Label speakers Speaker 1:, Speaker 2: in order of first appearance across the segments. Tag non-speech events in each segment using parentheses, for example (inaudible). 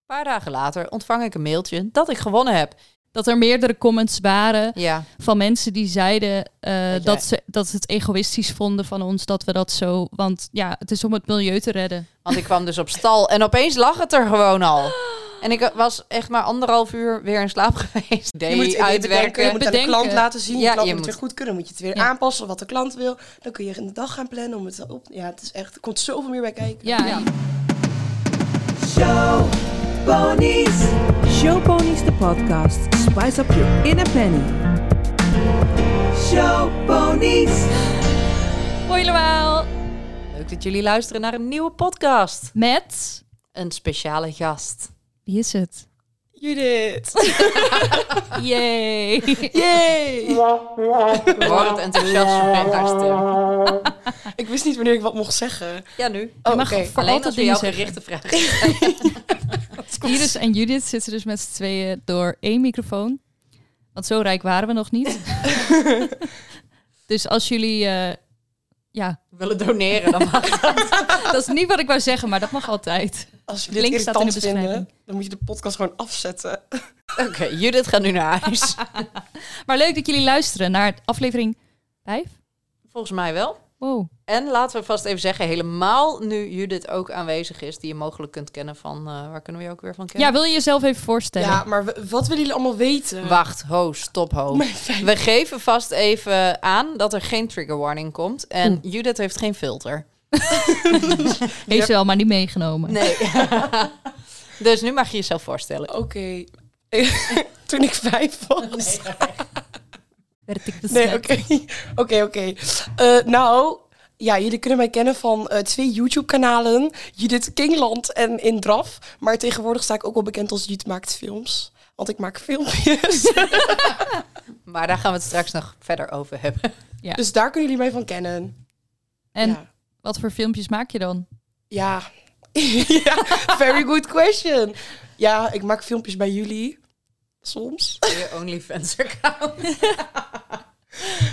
Speaker 1: Een paar dagen later ontvang ik een mailtje dat ik gewonnen heb.
Speaker 2: Dat er meerdere comments waren
Speaker 1: Ja,
Speaker 2: van mensen die zeiden eh,
Speaker 1: Dat jij-
Speaker 2: dat, ze, dat ze het egoïstisch vonden van ons dat we dat zo... Want ja, het is om het milieu te redden.
Speaker 1: want ik kwam dus op stal en opeens lag het er gewoon al. En ik was echt maar anderhalf uur weer in slaap (laughs) geweest.
Speaker 3: Je moet
Speaker 1: Idee
Speaker 3: het idee bedenken, je
Speaker 1: uitwerken.
Speaker 3: moet het aan de
Speaker 2: Bedenken.
Speaker 3: klant laten zien.
Speaker 1: Ja,
Speaker 3: de klant
Speaker 1: je
Speaker 3: moet
Speaker 1: moet-
Speaker 3: het weer goed kunnen. Moet je het weer
Speaker 2: Ja.
Speaker 3: aanpassen wat de klant wil. Dan kun je een dag gaan plannen om het op. Ja, het is echt, er komt zoveel meer bij kijken.
Speaker 2: Ja,
Speaker 4: Ponies. Show Ponies de podcast. Spice up your inner penny. Show Ponies.
Speaker 2: Hoi allemaal!
Speaker 1: Leuk dat jullie luisteren naar een nieuwe podcast.
Speaker 2: Met...
Speaker 1: Een speciale gast.
Speaker 2: Wie is het?
Speaker 3: Judith.
Speaker 2: Yay!
Speaker 3: Yay.
Speaker 1: Word enthousiast met haar stem.
Speaker 3: Ik wist niet wanneer ik wat mocht zeggen.
Speaker 1: Ja, nu.
Speaker 3: Oh,
Speaker 2: mag
Speaker 3: oké.
Speaker 2: voor
Speaker 1: Alleen
Speaker 2: altijd
Speaker 1: als we jou
Speaker 2: dingen
Speaker 1: gerichte (laughs) vragen.
Speaker 2: (laughs) Iris en Judith zitten dus met z'n tweeën door één microfoon. Want zo rijk waren we nog
Speaker 1: (laughs)
Speaker 2: niet. dus als jullie... eh, ja,
Speaker 1: willen doneren, dan mag
Speaker 2: dat is niet wat ik wou zeggen, maar dat mag altijd.
Speaker 3: Als je dit
Speaker 2: Link staat in de
Speaker 3: irritant vinden,
Speaker 2: beschrijving.
Speaker 3: dan moet je de podcast gewoon afzetten.
Speaker 1: (laughs) Oké, Judith gaat nu naar huis.
Speaker 2: Maar leuk dat jullie luisteren naar aflevering 5.
Speaker 1: (laughs) Volgens mij wel.
Speaker 2: Wow.
Speaker 1: En laten we vast even zeggen, helemaal nu Judith ook aanwezig is, die je mogelijk kunt kennen van, eh, waar kunnen we je ook weer van
Speaker 2: Ja,
Speaker 1: kennen?
Speaker 2: wil je jezelf even voorstellen?
Speaker 3: Ja, maar w- wat willen jullie allemaal weten?
Speaker 1: Wacht, ho, stop, ho.
Speaker 3: Mijn fijn-
Speaker 1: We geven vast even aan dat er geen trigger warning komt. En Judith heeft geen filter.
Speaker 2: Heeft ze wel maar niet meegenomen.
Speaker 1: Nee. (laughs) dus nu mag je jezelf voorstellen.
Speaker 3: Oké. (laughs) Toen ik vijf was.
Speaker 2: Werd ik
Speaker 3: Nee,
Speaker 2: besmet.
Speaker 3: oké. (laughs) Oké, oké. Eh, Nou, ja, jullie kunnen mij kennen van eh, twee YouTube-kanalen. Judith Kingland en Indraf. Maar tegenwoordig sta ik ook wel bekend als Judith Maakt Films. Want ik maak
Speaker 2: (laughs)
Speaker 3: filmpjes.
Speaker 1: Maar daar gaan we het straks nog verder over
Speaker 2: (laughs)
Speaker 1: hebben.
Speaker 3: dus daar kunnen jullie mij van kennen.
Speaker 2: En
Speaker 3: Ja.
Speaker 2: wat voor filmpjes maak je dan?
Speaker 3: Ja. (laughs) ja, very good question. Ja, ik maak filmpjes bij jullie. Soms. (laughs)
Speaker 1: Je OnlyFans account.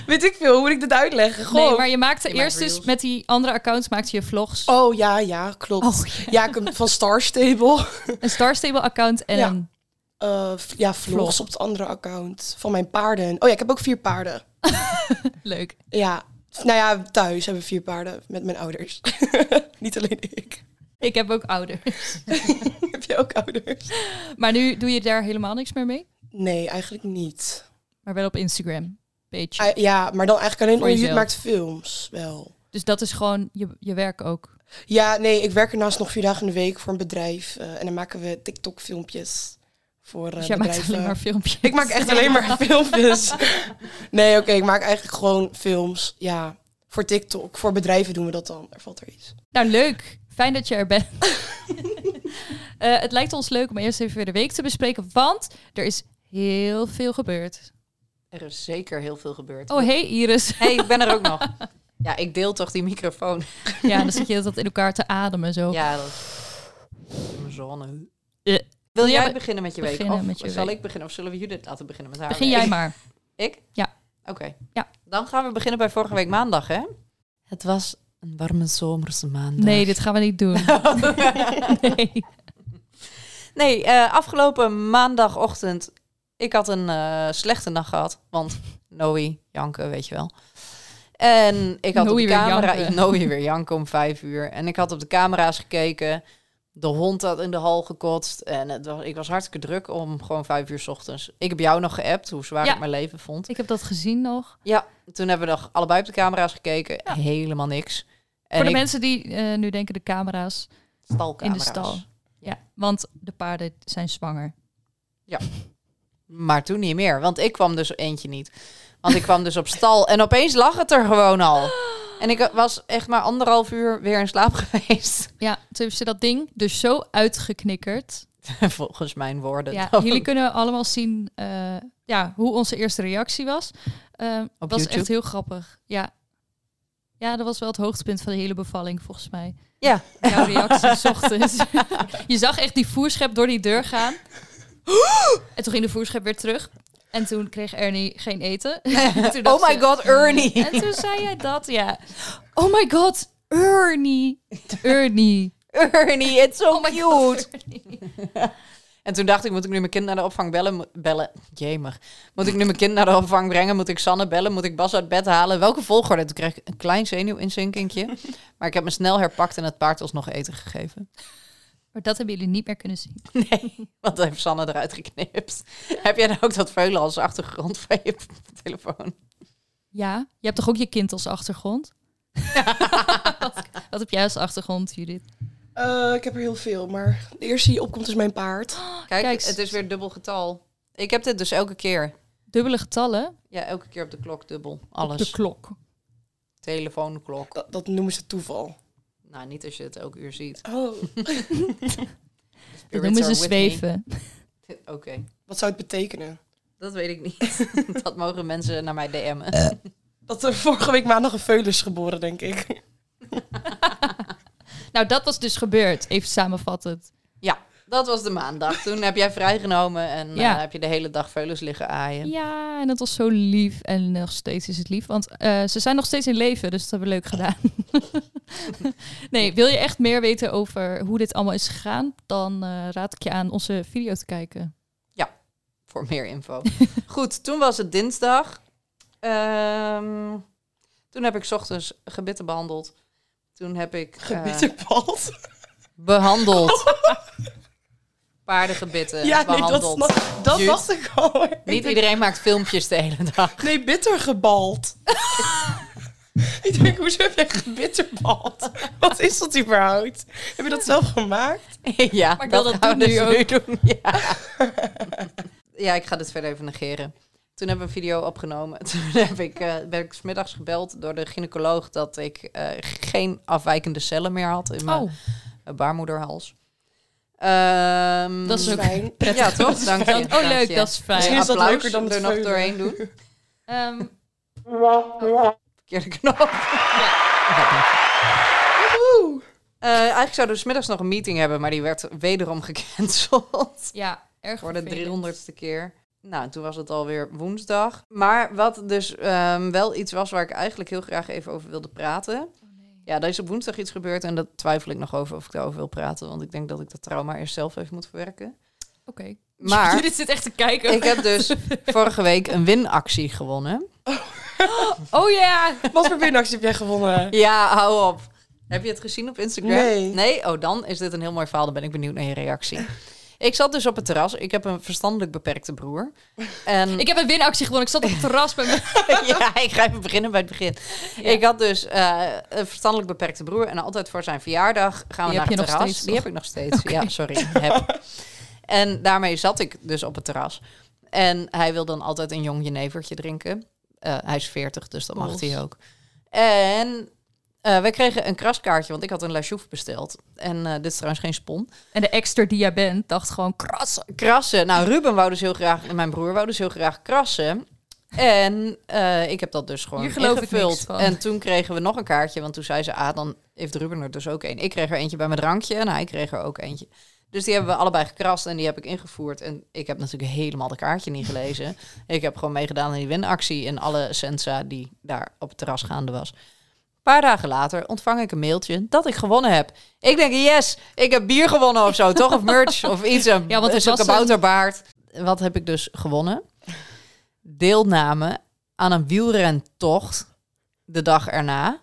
Speaker 3: Weet ik veel, hoe moet ik dit uitleggen? Gewoon.
Speaker 2: Nee, maar je maakte
Speaker 1: Je maakt
Speaker 2: eerst dus
Speaker 1: reels.
Speaker 2: met die andere accounts maakte je vlogs.
Speaker 3: Oh ja, ja, klopt.
Speaker 2: Oh,
Speaker 3: ja. ik heb van Star Stable.
Speaker 2: Een Star Stable account en
Speaker 3: Ja.
Speaker 2: een...
Speaker 3: Eh, v- ja, vlogs
Speaker 2: Vlog.
Speaker 3: op het andere account. Van mijn paarden. Oh ja, ik heb ook vier paarden.
Speaker 2: Leuk.
Speaker 3: Ja. Nou ja, thuis hebben we vier paarden met mijn ouders. (laughs) Niet alleen ik. (laughs)
Speaker 2: Ik heb ook ouder.
Speaker 3: heb je ook ouders?
Speaker 2: (laughs) Maar nu doe je daar helemaal niks meer mee.
Speaker 3: Nee, eigenlijk niet.
Speaker 2: Maar wel op Instagram. Page.
Speaker 3: Ah, ja, maar dan eigenlijk alleen
Speaker 2: Voor
Speaker 3: omdat je
Speaker 2: jezelf.
Speaker 3: maakt films wel.
Speaker 2: Dus dat is gewoon je, je werk ook.
Speaker 3: Ja, nee, ik werk ernaast nog vier dagen in de week voor een bedrijf. eh, en dan maken we TikTok-filmpjes voor eh,
Speaker 2: Dus jij maakt
Speaker 3: bedrijven.
Speaker 2: alleen maar filmpjes.
Speaker 3: Ik maak echt alleen
Speaker 2: (laughs)
Speaker 3: maar filmpjes. Nee, oké, ik maak eigenlijk gewoon films. Ja, voor TikTok. Voor bedrijven doen we dat dan. Er valt er iets.
Speaker 2: Nou, leuk. Fijn dat je er bent. (laughs) Eh, het lijkt ons leuk om eerst even weer de week te bespreken, want er is heel veel gebeurd.
Speaker 1: Er is zeker heel veel gebeurd.
Speaker 2: Oh, hey Iris.
Speaker 1: hey, ik ben er ook nog. Ja, ik deel toch die microfoon.
Speaker 2: Ja, dan zit je dat in elkaar te ademen zo.
Speaker 1: Ja, dat is mijn zone.
Speaker 2: Oh. Eh,
Speaker 1: Wil
Speaker 2: jij
Speaker 1: jij
Speaker 2: be-
Speaker 1: beginnen met je week?
Speaker 2: beginnen
Speaker 1: Of
Speaker 2: met je
Speaker 1: zal
Speaker 2: week?
Speaker 1: ik beginnen? Of zullen we Judith laten beginnen met haar
Speaker 2: Begin
Speaker 1: week?
Speaker 2: jij (laughs) maar.
Speaker 1: Ik?
Speaker 2: Ja.
Speaker 1: Oké.
Speaker 2: Ja.
Speaker 1: Dan gaan we beginnen bij vorige week maandag, hè? Het was een warme zomerse maandag.
Speaker 2: Nee, dit gaan we niet
Speaker 1: (laughs)
Speaker 2: doen. Nee.
Speaker 1: nee, eh, afgelopen maandagochtend... Ik had een eh, slechte nacht gehad. Want Noe, janken, weet je wel. En ik had
Speaker 2: Noe
Speaker 1: op de
Speaker 2: weer
Speaker 1: camera... (laughs)
Speaker 2: janken.
Speaker 1: Noe weer janken om vijf uur. En ik had op de camera's gekeken. De hond had in de hal gekotst. En het was, ik was hartstikke druk om gewoon vijf uur 's ochtends. Ik heb jou nog geappt hoe zwaar
Speaker 2: Ja.
Speaker 1: ik mijn leven vond.
Speaker 2: Ik heb dat gezien nog.
Speaker 1: Ja, toen hebben we nog allebei op de camera's gekeken. Helemaal niks. En
Speaker 2: Voor de
Speaker 1: ik-
Speaker 2: mensen die eh, nu denken de camera's.
Speaker 1: stalcamera's.
Speaker 2: in de stal. Ja, want de paarden zijn zwanger.
Speaker 1: Maar toen niet meer, want ik kwam dus eentje niet. Want ik kwam dus op stal en opeens lag het er gewoon al. En ik was echt maar anderhalf uur weer in slaap (laughs) geweest.
Speaker 2: Ja, toen hebben ze dat ding dus zo uitgeknikkerd.
Speaker 1: Volgens mijn woorden. (laughs)
Speaker 2: Ja,
Speaker 1: dan.
Speaker 2: jullie kunnen allemaal zien eh, ja, hoe onze eerste reactie was. Ehm
Speaker 1: Op
Speaker 2: was
Speaker 1: YouTube?
Speaker 2: echt heel grappig. Ja. ja, dat was wel het hoogtepunt van de hele bevalling, volgens mij.
Speaker 1: Ja.
Speaker 2: Jouw reactie 's ochtends. (laughs) Je zag echt die voerschep door die deur gaan. En toen ging de voerschep weer terug. En toen kreeg Ernie geen eten. Toen dacht
Speaker 1: (laughs) Oh my
Speaker 2: ze-
Speaker 1: god,
Speaker 2: (laughs)
Speaker 1: Ernie.
Speaker 2: En toen zei jij dat, ja. Oh my god, Ernie. Ernie.
Speaker 1: Ernie, it's so
Speaker 2: Oh my
Speaker 1: cute.
Speaker 2: god, Ernie.
Speaker 1: En toen dacht ik, moet ik nu mijn kind naar de opvang bellen? Mo- Bellen? Jemer. Moet ik nu mijn kind naar de opvang brengen? Moet ik Sanne bellen? Moet ik Bas uit bed halen? Welke volgorde? Toen kreeg ik een klein
Speaker 2: (laughs)
Speaker 1: zenuwinzinkinkje. Maar ik heb me snel herpakt en het paard alsnog eten gegeven.
Speaker 2: Maar dat hebben jullie niet meer kunnen zien.
Speaker 1: Nee, want dat heeft Sanne eruit
Speaker 2: (laughs)
Speaker 1: geknipt. Heb jij dan ook dat veulen als achtergrond van je telefoon?
Speaker 2: Ja, je hebt toch ook je kind als achtergrond? (laughs) wat, wat heb jij als achtergrond, Judith?
Speaker 3: Eh, ik heb er heel veel, maar de eerste die opkomt is mijn paard.
Speaker 1: Kijk,
Speaker 2: Kijk,
Speaker 1: het is weer dubbel getal. Ik heb dit dus elke keer.
Speaker 2: Dubbele getallen?
Speaker 1: Ja, elke keer op de klok dubbel.
Speaker 2: Op de
Speaker 1: Alles.
Speaker 2: klok.
Speaker 1: Telefoonklok.
Speaker 3: Dat, dat noemen ze toeval.
Speaker 1: Nou, niet als je het elk uur ziet.
Speaker 3: Oh,
Speaker 2: Dat
Speaker 1: Spirits
Speaker 2: noemen ze
Speaker 1: are with me.
Speaker 2: zweven.
Speaker 1: (laughs) Oké,
Speaker 3: wat zou het betekenen?
Speaker 1: dat weet ik niet.
Speaker 3: (laughs)
Speaker 1: dat mogen mensen naar mij DM'en.
Speaker 3: Dat er vorige week maandag een veulen is geboren, denk
Speaker 1: (laughs)
Speaker 3: ik.
Speaker 2: Nou, dat was dus gebeurd. Even samenvattend.
Speaker 1: Dat was de maandag. Toen heb jij vrijgenomen en eh,
Speaker 2: Ja.
Speaker 1: heb je de hele dag veulens liggen aaien.
Speaker 2: Ja, en dat was zo lief. En nog steeds is het lief. Want eh, ze zijn nog steeds in leven, dus dat hebben we leuk gedaan. (laughs) nee, wil je echt meer weten over hoe dit allemaal is gegaan? Dan eh, raad ik je aan onze video te kijken.
Speaker 1: Voor meer info.
Speaker 3: (laughs)
Speaker 1: Goed, toen was het dinsdag. Ehm, toen heb ik 's ochtends gebitten behandeld. Toen heb ik... eh,
Speaker 3: Gebitterbald. (laughs)
Speaker 1: behandeld. Paardengebitten
Speaker 3: ja, nee, dat,
Speaker 1: Eh, behandeld.
Speaker 3: snap, dat
Speaker 1: Jut.
Speaker 3: dacht ik al. hoor. Ik
Speaker 1: Niet
Speaker 3: denk-
Speaker 1: iedereen maakt filmpjes de hele dag. (laughs)
Speaker 3: Nee, bittergebald. ik denk, hoezo heb jij gebitterbald? Wat is dat überhaupt? Heb je dat zelf gemaakt?
Speaker 2: (laughs)
Speaker 1: ja,
Speaker 2: Maar ik wil
Speaker 1: dat,
Speaker 2: dat
Speaker 1: gaan we
Speaker 2: doen (laughs)
Speaker 1: dus
Speaker 2: nu
Speaker 1: nu doen. Ja. (laughs) ja, ik ga dit verder even negeren. Toen hebben we een video opgenomen. (laughs) Toen heb ik, eh, ben ik 's middags gebeld door de gynaecoloog dat ik eh, geen afwijkende cellen meer had in mijn
Speaker 2: Oh,
Speaker 1: eh, baarmoederhals. Ehm,
Speaker 2: Dat is ook
Speaker 3: Fijn.
Speaker 2: prettig.
Speaker 1: ja, toch? Dank je.
Speaker 2: (laughs) Oh, leuk, dat is fijn.
Speaker 1: Misschien
Speaker 3: Misschien is dat
Speaker 1: applaus
Speaker 3: leuker dan het
Speaker 1: er nog
Speaker 3: veulen.
Speaker 1: doorheen doen.
Speaker 2: Ehm,
Speaker 1: Verkeerde knop. (laughs) Ja.
Speaker 3: Woehoe.
Speaker 1: Eh, eigenlijk zouden we 's middags nog een meeting hebben, maar die werd wederom gecanceld.
Speaker 2: ja, erg
Speaker 1: Voor de
Speaker 2: vervelend.
Speaker 1: 300ste keer. Nou, toen was het alweer woensdag. Maar wat dus ehm, wel iets was waar ik eigenlijk heel graag even over wilde praten.
Speaker 2: Oh,
Speaker 1: Ja, er is op woensdag iets gebeurd en daar twijfel ik nog over of ik daarover wil praten. Want ik denk dat ik dat trauma eerst zelf even moet
Speaker 2: (laughs)
Speaker 1: verwerken.
Speaker 2: Oké.
Speaker 1: (laughs) Maar
Speaker 2: Judith zit echt te kijken.
Speaker 1: ik heb dus vorige week een winactie gewonnen.
Speaker 2: Oh ja!
Speaker 3: Wat voor winactie heb jij gewonnen?
Speaker 1: (laughs) Ja, hou op. Heb je het gezien op Instagram?
Speaker 3: Nee.
Speaker 1: Oh, dan is dit een heel mooi verhaal. Dan ben ik benieuwd naar je reactie. Ik zat dus op het terras. Ik heb een verstandelijk beperkte
Speaker 2: (laughs)
Speaker 1: broer. En
Speaker 2: Ik heb een winactie gewonnen. Ik zat op het terras bij me.
Speaker 1: ja, ik ga even beginnen bij het begin.
Speaker 2: Ja.
Speaker 1: (laughs) Ik had dus eh, een verstandelijk beperkte broer. En altijd voor zijn verjaardag gaan we
Speaker 2: Die
Speaker 1: naar het
Speaker 2: heb je nog
Speaker 1: terras.
Speaker 2: steeds,
Speaker 1: Die
Speaker 2: toch?
Speaker 1: heb ik nog steeds. Ja, sorry. Heb. En daarmee zat ik dus op het terras. En hij wil dan altijd een jong jenevertje drinken. Eh, hij is 40, dus dat mag
Speaker 2: Ols.
Speaker 1: hij ook. En eh wij kregen een kraskaartje, want ik had een La Chouffe besteld. En eh, dit is trouwens geen spon.
Speaker 2: En de extra die jij bent dacht gewoon krassen.
Speaker 1: Krassen. Nou, Ruben wou dus heel graag, en mijn broer wou dus heel graag krassen. En eh, ik heb dat dus gewoon
Speaker 2: Hier geloof ik
Speaker 1: ingevuld.
Speaker 2: niks van.
Speaker 1: En toen kregen we nog een kaartje, want toen zei ze, ah, dan heeft Ruben er dus ook één. Ik kreeg er eentje bij mijn drankje en hij kreeg er ook eentje. Dus die hebben we allebei gekrast en die heb ik ingevoerd. En ik heb natuurlijk helemaal de kaartje niet gelezen. ik heb gewoon meegedaan aan die winactie en alle sensa die daar op het terras gaande was. Een paar dagen later ontvang ik een mailtje dat ik gewonnen heb. Ik denk, yes, ik heb bier gewonnen of zo, toch? Of merch of iets. Een,
Speaker 2: Ja, want het
Speaker 1: zo'n
Speaker 2: was een-
Speaker 1: kabouterbaard. Wat heb ik dus gewonnen? Deelname aan een wielrentocht de dag erna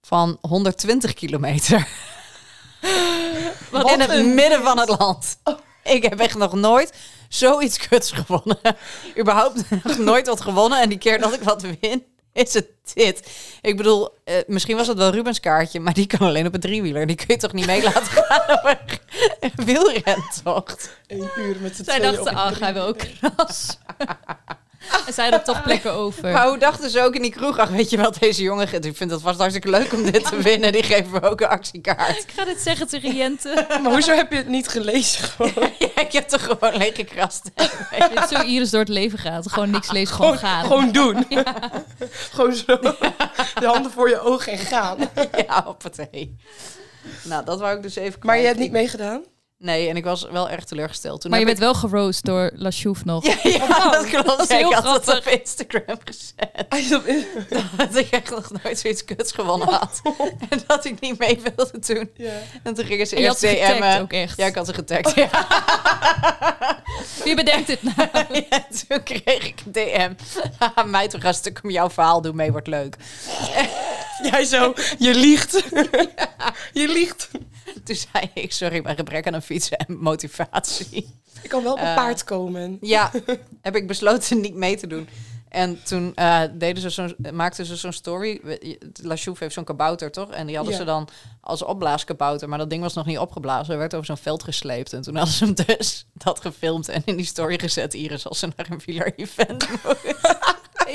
Speaker 1: van 120 kilometer. (laughs) in het
Speaker 3: een-
Speaker 1: midden van het land. Ik heb echt nog nooit zoiets kuts gewonnen. (laughs) Überhaupt nog nooit wat gewonnen. En die keer dat ik wat win, is het dit. Ik bedoel, eh, misschien was het wel Rubens kaartje, maar die kan alleen op een driewieler. Die kun je toch niet mee laten gaan op een (laughs) wielrentocht.
Speaker 3: Een uur met de
Speaker 2: Zij
Speaker 3: tweeën
Speaker 2: dachten,
Speaker 3: op een
Speaker 2: ach, hij wil ook krassen. (laughs) en zij hadden toch plekken over.
Speaker 1: Maar hoe dachten ze ook in die kroeg? Ach, weet je wel, deze jongen, ik vind het vast hartstikke leuk om dit te winnen. Die geven we ook een actiekaart.
Speaker 2: (laughs) Ik ga dit zeggen tegen (laughs) Jente.
Speaker 3: drie- Maar hoezo heb je het niet gelezen? Gewoon,
Speaker 1: Ja, ik heb toch gewoon leeg gekrast. (laughs)
Speaker 2: Dit is zo Iris door het leven gaat. Gewoon niks lezen, gewoon gaan.
Speaker 3: gewoon
Speaker 1: (laughs)
Speaker 3: doen. gewoon zo. De handen voor je ogen en gaan.
Speaker 1: Ja, hoppatee. Nou, dat wou ik dus even
Speaker 3: Maar je
Speaker 1: kwijt.
Speaker 3: hebt niet meegedaan?
Speaker 1: Nee, en ik was wel erg teleurgesteld. Toen
Speaker 2: Maar je
Speaker 1: heb
Speaker 2: bent wel geroost door La Chouf nog.
Speaker 1: ik- (laughs) Ja,
Speaker 2: (laughs)
Speaker 1: ja, dat klopt.
Speaker 2: dat is heel
Speaker 1: ik had het op
Speaker 2: grappig.
Speaker 1: Instagram gezet. (laughs)
Speaker 3: Ah, je-
Speaker 1: Dat ik echt nog nooit zoiets kuts gewonnen
Speaker 2: (laughs)
Speaker 1: had. En dat ik niet mee wilde doen.
Speaker 3: Ja.
Speaker 1: En toen gingen ze
Speaker 2: En je had
Speaker 1: eerst
Speaker 2: ze getagd
Speaker 1: DM'en.
Speaker 2: ook echt.
Speaker 1: Ja, ik had ze getagd. ja.
Speaker 2: Wie bedenkt dit nou?
Speaker 1: (laughs) Ja, toen kreeg ik een (laughs) DM. Haha, Mij toch een stuk om jouw verhaal doen mee, wordt leuk.
Speaker 3: Jij zo, je liegt. (laughs) je liegt.
Speaker 1: Toen zei ik, sorry, mijn gebrek aan een fiets en (laughs) motivatie.
Speaker 3: Ik kan wel op een
Speaker 1: Eh.
Speaker 3: paard komen.
Speaker 1: Ja, heb ik besloten niet mee te doen. En toen eh, deden ze zo'n, maakten ze zo'n story. We- je- La Chouf heeft zo'n kabouter, toch? En die hadden
Speaker 3: Ja.
Speaker 1: ze dan als opblaaskabouter. Maar dat ding was nog niet opgeblazen. Hij werd over zo'n veld gesleept. En toen hadden ze hem (laughs) dus dat gefilmd en in die story gezet. Iris, als ze naar een wieler-event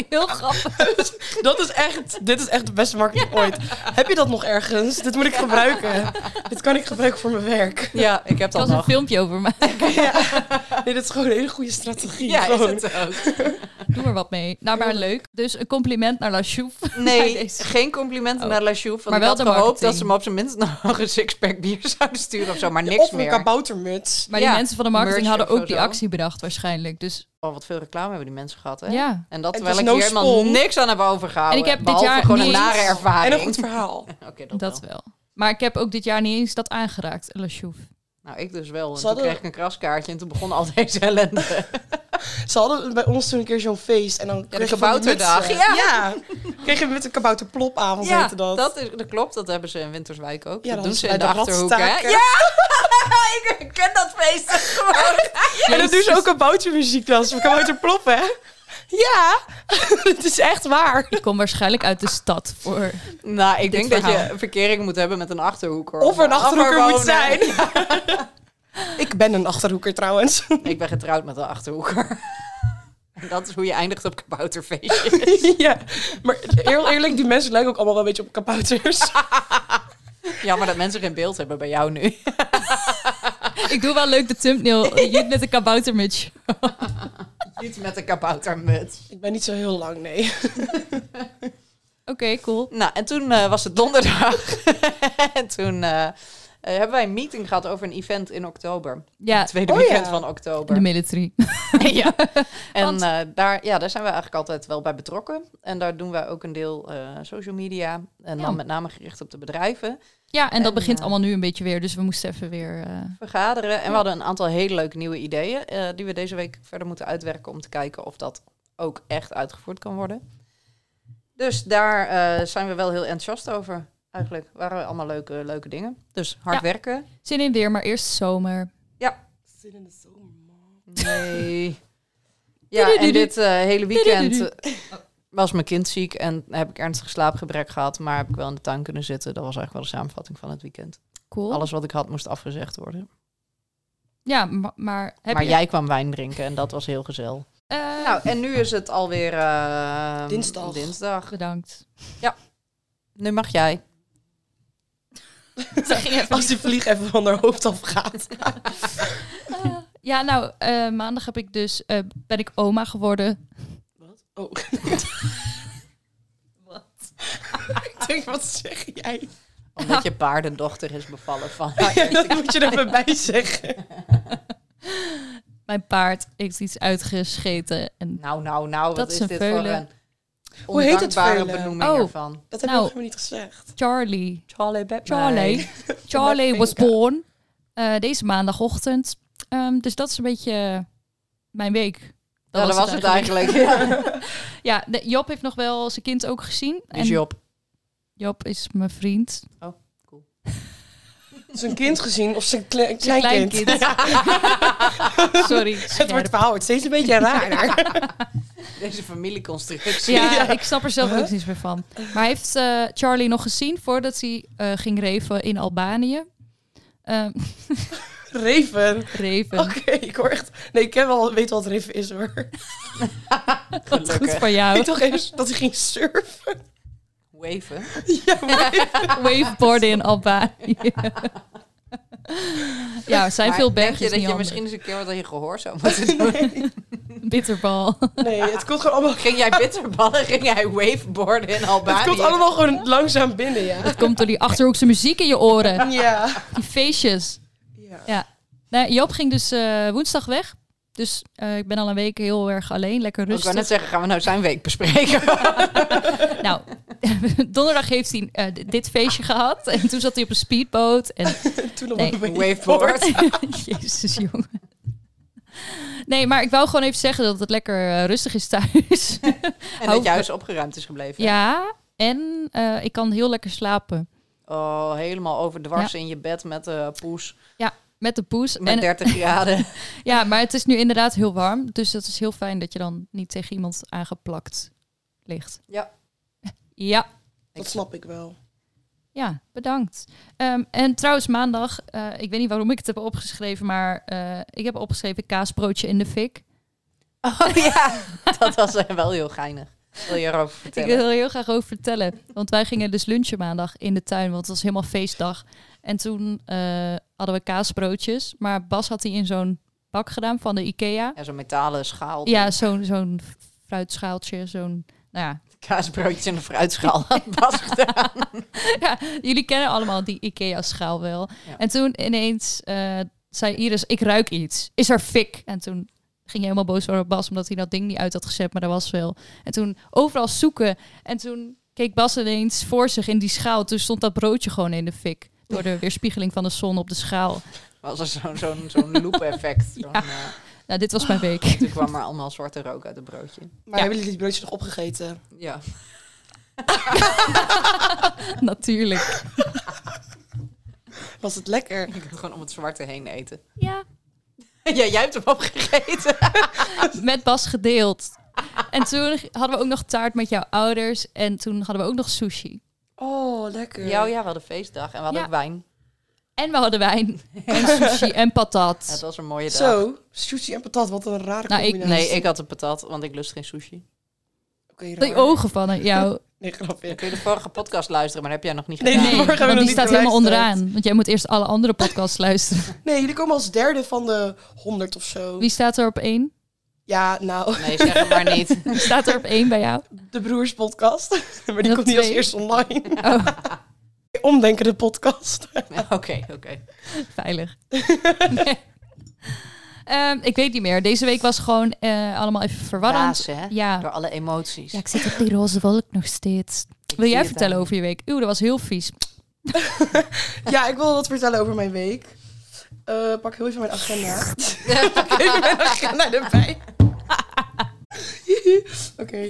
Speaker 2: Heel grappig.
Speaker 3: Dat is echt, dit is echt de beste marketing ooit. Heb je dat nog ergens? Dit moet ik gebruiken. Dit kan ik gebruiken voor mijn werk.
Speaker 1: Ja, ik heb
Speaker 2: Er
Speaker 1: dat
Speaker 2: was een
Speaker 1: nog.
Speaker 2: filmpje over, maar (laughs)
Speaker 3: Nee, dit is gewoon een hele goede strategie.
Speaker 1: (laughs) Ja, is
Speaker 3: Gewoon.
Speaker 1: het ook.
Speaker 2: doe er wat mee. Nou, maar leuk. Dus een compliment naar La Chouf. Bij
Speaker 1: Nee,
Speaker 2: deze.
Speaker 1: geen complimenten
Speaker 2: Oh.
Speaker 1: naar La Chouf. Want
Speaker 2: Maar wel
Speaker 1: ik had
Speaker 2: de
Speaker 1: gehoopt
Speaker 2: marketing.
Speaker 1: dat ze me op zijn minst (laughs) nog een sixpack bier zouden sturen of zo. Maar niks
Speaker 3: of een
Speaker 1: meer.
Speaker 3: kaboutermuts.
Speaker 2: (laughs) Maar die
Speaker 1: Ja,
Speaker 2: mensen van de marketing
Speaker 1: merch
Speaker 2: hadden
Speaker 1: of
Speaker 2: ook die
Speaker 1: zo.
Speaker 2: actie bedacht waarschijnlijk. Dus
Speaker 1: Oh, wat veel reclame hebben die mensen gehad, hè?
Speaker 2: ja.
Speaker 1: En dat
Speaker 3: Het
Speaker 1: terwijl
Speaker 3: is
Speaker 1: ik
Speaker 3: no
Speaker 1: hier helemaal
Speaker 3: spon.
Speaker 1: niks aan heb overgehouden.
Speaker 2: En ik heb dit
Speaker 1: Behalve
Speaker 2: jaar
Speaker 1: gewoon een
Speaker 2: niet-
Speaker 1: nare
Speaker 3: En
Speaker 1: ervaring.
Speaker 3: een goed verhaal.
Speaker 1: (laughs) Oké, dat,
Speaker 2: Dat,
Speaker 1: wel.
Speaker 2: wel. Maar ik heb ook dit jaar niet eens dat aangeraakt, La Chouf.
Speaker 1: Nou, ik dus wel. En
Speaker 3: Ze
Speaker 1: toen
Speaker 3: hadden-
Speaker 1: kreeg ik een kraskaartje en toen begon al deze ellende.
Speaker 3: Ze hadden bij ons toen een keer zo'n feest. En dan kreeg je van die
Speaker 1: kabouterdag,
Speaker 3: mutsen.
Speaker 1: ja.
Speaker 3: Kreeg je met een kabouterplopavond, heette dat.
Speaker 1: is, dat klopt. Dat hebben ze in Winterswijk ook.
Speaker 3: Ja,
Speaker 1: dat
Speaker 3: dan
Speaker 1: doen ze
Speaker 3: bij
Speaker 1: in de,
Speaker 3: de
Speaker 1: Achterhoek, hè?
Speaker 3: ratstaken.
Speaker 1: Ja! (laughs) ik ken dat feest gewoon.
Speaker 3: En dat doen ze ook kaboutermuziek wel. Ze kabouterplop, hè? Ja, (laughs) het is echt waar.
Speaker 2: Ik kom waarschijnlijk uit de stad voor. (laughs)
Speaker 1: Nou, ik
Speaker 2: Dit
Speaker 1: denk dat
Speaker 2: verhaal.
Speaker 1: je verkering moet hebben met een Achterhoeker.
Speaker 3: Of er een achterhoeker moet
Speaker 1: wonen.
Speaker 3: zijn. (laughs) Ik ben een achterhoeker trouwens. (laughs)
Speaker 1: Ik ben getrouwd met een Achterhoeker. (laughs) En dat is hoe je eindigt op kabouterfeestje.
Speaker 3: ja, maar heel eerlijk, die mensen lijken ook allemaal wel een beetje op kabouters. (laughs)
Speaker 1: Jammer dat mensen geen beeld hebben bij jou nu.
Speaker 2: Ik doe wel leuk de thumbnail. Jut met een kaboutermuts.
Speaker 1: Niet met een kaboutermuts.
Speaker 3: ik ben niet zo heel lang, nee.
Speaker 2: Oké, cool.
Speaker 1: Nou, en toen eh, was het donderdag. (laughs) en toen eh, eh, hebben wij een meeting gehad over een event in oktober.
Speaker 2: Ja,
Speaker 1: Het tweede
Speaker 3: Oh,
Speaker 1: weekend
Speaker 3: ja.
Speaker 1: van
Speaker 2: de
Speaker 1: oktober.
Speaker 2: (laughs) military.
Speaker 1: ja. En
Speaker 2: Want-
Speaker 1: eh, daar, ja, daar zijn we eigenlijk altijd wel bij betrokken. En daar doen wij ook een deel eh, social media. En
Speaker 2: Ja.
Speaker 1: dan met name gericht op de bedrijven.
Speaker 2: Ja, en dat
Speaker 1: En,
Speaker 2: begint
Speaker 1: eh,
Speaker 2: allemaal nu een beetje weer. Dus we moesten even weer... eh,
Speaker 1: vergaderen. En we hadden een aantal hele leuke nieuwe ideeën eh, die we deze week verder moeten uitwerken om te kijken of dat ook echt uitgevoerd kan worden. Dus daar eh, zijn we wel heel enthousiast over. Eigenlijk waren we allemaal leuke, leuke dingen. Dus hard
Speaker 2: Ja.
Speaker 1: werken.
Speaker 2: Zin in weer, maar eerst zomer.
Speaker 3: Zin in de zomer, man.
Speaker 2: (laughs)
Speaker 1: Nee. ja, en dit eh, hele weekend eh, was mijn kind ziek en heb ik ernstig slaapgebrek gehad, maar heb ik wel in de tuin kunnen zitten. Dat was eigenlijk wel de samenvatting van het weekend.
Speaker 2: Cool.
Speaker 1: Alles wat ik had moest afgezegd worden.
Speaker 2: Ja, ma- maar... Heb
Speaker 1: maar
Speaker 2: je,
Speaker 1: jij kwam wijn drinken en dat was heel gezellig.
Speaker 2: Eh,
Speaker 1: Nou, en nu is het alweer... eh,
Speaker 3: Dinsdag.
Speaker 1: Dinsdag.
Speaker 2: bedankt.
Speaker 1: Nu mag jij.
Speaker 3: Als die vlieg even van haar hoofd afgaat.
Speaker 2: Ah, ja, nou, eh, maandag heb ik dus, eh, ben ik oma geworden.
Speaker 3: Wat? (laughs) Oh. (laughs) ik denk, wat zeg jij?
Speaker 1: Omdat je paardendochter is bevallen van...
Speaker 3: Oh, Ja, dat moet je er even bij zeggen.
Speaker 2: Mijn paard heeft iets uitgescheten. En,
Speaker 1: Nou, nou, nou, wat
Speaker 2: Dat
Speaker 1: is
Speaker 2: is een
Speaker 1: dit voor
Speaker 2: veulen.
Speaker 1: een
Speaker 3: Hoe heet het
Speaker 1: ondankbare
Speaker 3: veulen?
Speaker 1: benoeming
Speaker 2: Oh.
Speaker 1: ervan?
Speaker 2: heb
Speaker 3: Dat heb
Speaker 2: ik Nou.
Speaker 3: ik
Speaker 2: nog
Speaker 3: nog niet gezegd.
Speaker 2: Charlie.
Speaker 1: Charlie Batman. (laughs)
Speaker 2: Charlie. Charlie
Speaker 3: Pinka.
Speaker 2: was born eh, deze maandagochtend. Ehm, dus dat is een beetje mijn week.
Speaker 1: Ja, dat was het eigenlijk. Ja.
Speaker 2: Ja, de- Job heeft nog wel zijn kind ook gezien. (laughs) En
Speaker 1: Dus Job.
Speaker 2: Job is mijn vriend.
Speaker 3: Zijn kind gezien of zijn kle-
Speaker 2: Zijn
Speaker 3: kleinkind?
Speaker 1: (laughs)
Speaker 2: Sorry.
Speaker 3: (laughs) Het wordt verhaal wordt steeds een beetje raarder.
Speaker 1: Deze familieconstructie.
Speaker 2: Ja,
Speaker 3: Ja.
Speaker 2: ik snap er zelf ook niets meer van. Maar hij heeft eh, Charlie nog gezien voordat hij eh, ging reven in Albanië. Ehm,
Speaker 3: (laughs)
Speaker 2: (laughs)
Speaker 3: Reven.
Speaker 2: reven.
Speaker 3: Oké, ik hoor echt... Nee, ik ken wel, weet wel wat Reven is hoor.
Speaker 2: Wat goed
Speaker 1: gelukkig.
Speaker 2: voor
Speaker 3: Ik
Speaker 2: jou.
Speaker 3: toch eens dat hij ging surfen.
Speaker 1: Waven.
Speaker 3: Ja, maar
Speaker 2: Waveboarden in Albanië. ja, zijn
Speaker 1: Maar
Speaker 2: veel
Speaker 1: denk
Speaker 2: bergjes
Speaker 1: je dat
Speaker 2: niet
Speaker 1: je
Speaker 2: handig.
Speaker 1: misschien eens een keer wat aan je gehoor zou moeten
Speaker 3: (laughs)
Speaker 1: doen? (laughs)
Speaker 2: Bitterbal.
Speaker 3: nee, het komt gewoon (laughs) allemaal...
Speaker 1: Ging jij bitterballen? Ging jij waveboarden in Albanië?
Speaker 3: Het komt allemaal gewoon langzaam binnen, ja.
Speaker 2: Dat komt door die Achterhoekse muziek in je oren.
Speaker 3: Ja.
Speaker 2: Die feestjes.
Speaker 3: ja.
Speaker 2: Nee, Job ging dus eh, woensdag weg. Dus eh, ik ben al een week heel erg alleen. Lekker
Speaker 1: Ik wou
Speaker 2: rustig.
Speaker 1: net zeggen, gaan we nou zijn week
Speaker 3: (laughs)
Speaker 1: bespreken?
Speaker 2: Nou, (laughs) donderdag heeft hij eh, d- dit feestje gehad. En toen zat hij op een
Speaker 1: (laughs)
Speaker 2: speedboot. En
Speaker 3: Toen nog
Speaker 2: Nee,
Speaker 3: een beetje
Speaker 1: Waveboard.
Speaker 2: Jezus, jongen. Nee, maar ik wou gewoon even zeggen dat het lekker eh, rustig
Speaker 1: (laughs)
Speaker 2: is
Speaker 1: (laughs)
Speaker 2: thuis.
Speaker 1: En
Speaker 2: Hou-
Speaker 1: dat je huis opgeruimd is gebleven.
Speaker 2: ja, en eh, ik kan heel lekker slapen.
Speaker 1: Oh, helemaal overdwars in je bed met eh poes.
Speaker 2: Met de poes.
Speaker 1: Met
Speaker 2: En, (laughs) eh,
Speaker 1: 30 graden.
Speaker 2: ja, maar het is nu inderdaad heel warm. Dus dat is heel fijn dat je dan niet tegen iemand aangeplakt ligt.
Speaker 1: Ja.
Speaker 2: (laughs) Ja.
Speaker 3: Dat snap ik wel.
Speaker 2: Ja, bedankt. Ehm, en trouwens, maandag, eh, ik weet niet waarom ik het heb opgeschreven, maar eh, ik heb opgeschreven kaasbroodje in de fik.
Speaker 1: Oh ja, dat was eh, wel heel geinig. Wil je erover vertellen?
Speaker 2: Ik eh, wil er heel graag over vertellen. Want wij gingen dus lunchen maandag in de tuin, want het was helemaal feestdag. En toen eh, hadden we kaasbroodjes, maar Bas had die in zo'n bak gedaan van de Ikea.
Speaker 1: Ja, zo'n metalen schaal.
Speaker 2: Ja, zo'n zo'n fruitschaaltje, zo'n... Nou ja,
Speaker 1: Kaasbroodjes in de
Speaker 2: (laughs)
Speaker 1: fruitschaal had Bas gedaan.
Speaker 2: ja, jullie kennen allemaal die IKEA-schaal wel.
Speaker 1: Ja.
Speaker 2: En toen ineens eh, zei Iris, ik ruik iets. Is er fik? En toen ging hij helemaal boos worden op Bas, omdat hij dat ding niet uit had gezet, maar er was wel. En toen overal zoeken. En toen keek Bas ineens voor zich in die schaal. Toen stond dat broodje gewoon in de fik. Door de weerspiegeling van de zon op de schaal.
Speaker 1: Was er zo'n zo'n zo'n loop-effect. Zo'n, eh,
Speaker 2: Nou, dit was mijn
Speaker 1: (laughs)
Speaker 2: week. (laughs)
Speaker 1: toen kwam er allemaal zwarte rook uit het broodje.
Speaker 3: Maar hebben jullie dit broodje nog opgegeten?
Speaker 1: Ja.
Speaker 2: Natuurlijk.
Speaker 3: Was het lekker?
Speaker 1: Je kunt gewoon om het zwarte heen eten. (laughs)
Speaker 2: Ja,
Speaker 1: Ja, jij hebt hem opgegeten.
Speaker 2: met Bas gedeeld. En toen hadden we ook nog taart met jouw ouders. En toen hadden we ook nog sushi.
Speaker 3: Oh, lekker.
Speaker 1: Ja, oh ja, we hadden feestdag en we hadden
Speaker 2: Ja.
Speaker 1: ook wijn.
Speaker 2: En we hadden
Speaker 3: (laughs)
Speaker 2: wijn. En sushi en
Speaker 1: Ja, het
Speaker 2: patat.
Speaker 1: was een mooie dag.
Speaker 3: Zo, sushi en patat, wat een rare
Speaker 2: Nou, ik-
Speaker 3: combinatie.
Speaker 1: Nee, ik had een patat, want ik lust geen sushi.
Speaker 3: Oké,
Speaker 2: Die
Speaker 3: raar.
Speaker 2: ogen van eh,
Speaker 3: (laughs)
Speaker 2: jou.
Speaker 3: Nee, grapje.
Speaker 1: Dan kun je de vorige podcast luisteren, maar dat heb jij nog niet
Speaker 3: Nee,
Speaker 1: gedaan.
Speaker 2: Nee,
Speaker 3: morgen hebben we nog
Speaker 2: want die
Speaker 3: niet
Speaker 2: staat helemaal
Speaker 3: geluisterd.
Speaker 2: onderaan. Want jij moet eerst alle andere
Speaker 3: (laughs)
Speaker 2: podcasts luisteren.
Speaker 3: Nee, jullie komen als derde van de 100 of zo.
Speaker 2: Wie staat er op één?
Speaker 3: Ja, nou,
Speaker 1: Nee, zeg het maar
Speaker 2: (laughs)
Speaker 1: niet.
Speaker 2: Wie staat er op één bij jou?
Speaker 3: de Broers podcast. (laughs) maar die
Speaker 2: Nog
Speaker 3: komt niet als
Speaker 2: twee.
Speaker 3: eerst online.
Speaker 2: (laughs) Oh,
Speaker 3: Omdenken de podcast.
Speaker 1: Ja, Oké, oké.
Speaker 3: (laughs)
Speaker 2: veilig. Nee. Ehm, ik weet niet meer. Deze week was gewoon eh, allemaal even verwarrend.
Speaker 1: Raas, hè?
Speaker 2: Ja.
Speaker 1: Door alle emoties.
Speaker 2: ja, ik zit op die roze wolk nog steeds.
Speaker 1: Ik
Speaker 2: Wil
Speaker 1: zie
Speaker 2: jij
Speaker 1: het eh,
Speaker 2: vertellen
Speaker 1: aan.
Speaker 2: over je week? Oeh, dat was heel vies.
Speaker 3: ja, ik wil wat vertellen over mijn week. Eh, pak heel even mijn agenda. pak even mijn agenda erbij. (laughs) Oké,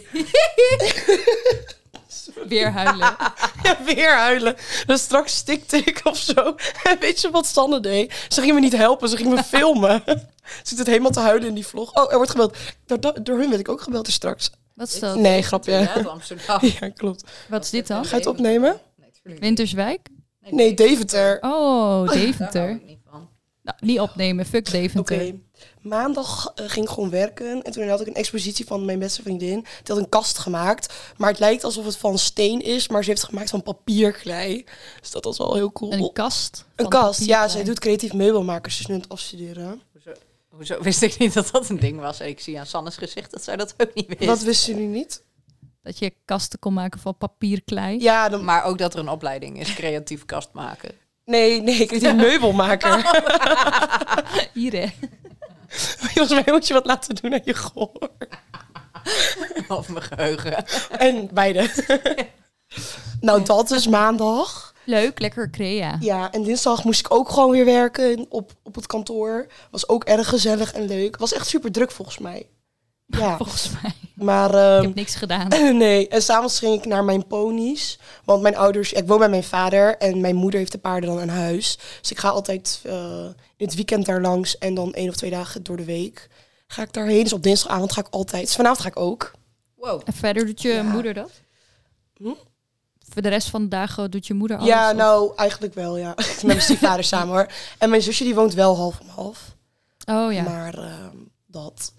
Speaker 2: Weer huilen.
Speaker 3: (laughs) ja, weer huilen. Dus straks stikte ik of zo. (laughs) En weet je wat Sanne deed? Ze ging me niet helpen, ze ging
Speaker 2: (laughs)
Speaker 3: me filmen. (laughs) Ze zit helemaal te huilen in die vlog. Oh, er wordt gebeld. Door, door- door hun werd ik ook gebeld dus straks.
Speaker 2: Wat is dat?
Speaker 3: Nee, grapje.
Speaker 1: Ja,
Speaker 2: (laughs)
Speaker 1: Amsterdam.
Speaker 3: (laughs) Ja, klopt.
Speaker 2: Wat is dit dan?
Speaker 3: Ga je het opnemen?
Speaker 1: Nee, tuurlijk niet.
Speaker 2: Winterswijk?
Speaker 3: Nee, Deventer.
Speaker 2: Oh,
Speaker 1: Daar
Speaker 2: Deventer.
Speaker 1: hou ik niet van.
Speaker 2: Nou, niet opnemen. Fuck
Speaker 3: Oké.
Speaker 2: Deventer.
Speaker 3: Maandag eh, ging ik gewoon werken. En toen had ik een expositie van mijn beste vriendin. Die had een kast gemaakt. Maar het lijkt alsof het van steen is. Maar ze heeft het gemaakt van papierklei. Dus dat was wel heel cool.
Speaker 2: Een kast.
Speaker 3: Een
Speaker 2: van
Speaker 3: kast, ja.
Speaker 2: papierklei.
Speaker 3: Zij doet creatief meubelmakers. Ze is nu aan het afstuderen.
Speaker 1: Hoezo, hoezo wist ik niet dat dat een ding was? Ik zie aan Sanne's gezicht dat zij dat ook niet wist.
Speaker 3: Dat wisten jullie niet?
Speaker 2: Dat je kasten kon maken van papierklei.
Speaker 3: Ja, dan,
Speaker 1: Maar ook dat er een opleiding is, creatief kast maken. (laughs)
Speaker 3: nee,
Speaker 2: (laughs)
Speaker 3: nee. Creatief meubelmaker. (laughs)
Speaker 2: Hier, hè. (laughs)
Speaker 3: Volgens mij moet je wat laten doen aan je gehoor.
Speaker 1: Of mijn geheugen.
Speaker 3: En beide. (laughs) nou, dat is maandag.
Speaker 2: Leuk, lekker crea.
Speaker 3: Ja, en dinsdag moest ik ook gewoon weer werken op, op het kantoor. Was ook erg gezellig en leuk. Was echt super druk volgens mij. Ja,
Speaker 2: Volgens mij.
Speaker 3: maar
Speaker 2: Ik
Speaker 3: (laughs) ehm,
Speaker 2: heb niks gedaan.
Speaker 3: (laughs) nee. En s'avonds ging ik naar mijn ponies. Want mijn ouders, ik woon bij mijn vader en mijn moeder heeft de paarden dan aan huis. Dus ik ga altijd eh, in het weekend daar langs en dan één of twee dagen door de week. Ga ik daarheen. Dus op dinsdagavond ga ik altijd. Dus vanavond ga ik ook.
Speaker 1: Wow.
Speaker 2: En verder doet je
Speaker 3: Ja.
Speaker 2: moeder dat?
Speaker 3: Hm?
Speaker 2: Voor de rest van de dagen doet je moeder alles?
Speaker 3: ja,
Speaker 2: of-
Speaker 3: nou eigenlijk wel, ja. (laughs) Met mijn stiefvader samen hoor. En mijn zusje die woont wel half om half.
Speaker 2: Oh ja.
Speaker 3: Maar ehm, dat.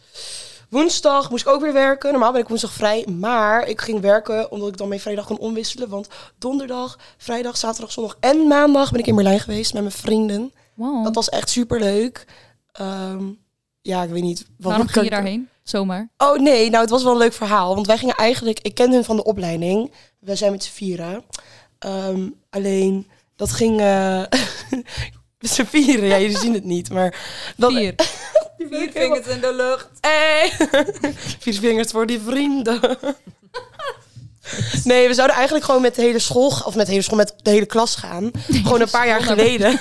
Speaker 3: Woensdag moest ik ook weer werken. Normaal ben ik woensdag vrij. Maar ik ging werken omdat ik dan mijn vrijdag kon omwisselen. Want donderdag, vrijdag, zaterdag, zondag en maandag ben ik in Berlijn geweest met mijn vrienden.
Speaker 2: Wow.
Speaker 3: Dat was echt super leuk. ja, ik weet niet. Wat
Speaker 2: Waarom
Speaker 3: ik-
Speaker 2: ging je daarheen? Zomaar.
Speaker 3: Oh nee, nou het was wel een leuk verhaal. Want wij gingen eigenlijk, ik kende hun van de opleiding. We zijn met z'n vieren. Ehm, alleen, dat ging... eh (laughs) met z'n vieren, ja, jullie zien het niet. Maar dat,
Speaker 2: Vier.
Speaker 1: Vier vingers in de lucht.
Speaker 3: (laughs) Hey. Vier vingers voor die vrienden. Nee, we zouden eigenlijk gewoon met de hele school, of met de hele school, met de hele klas gaan. Gewoon een paar jaar
Speaker 2: school naar
Speaker 3: (laughs) geleden.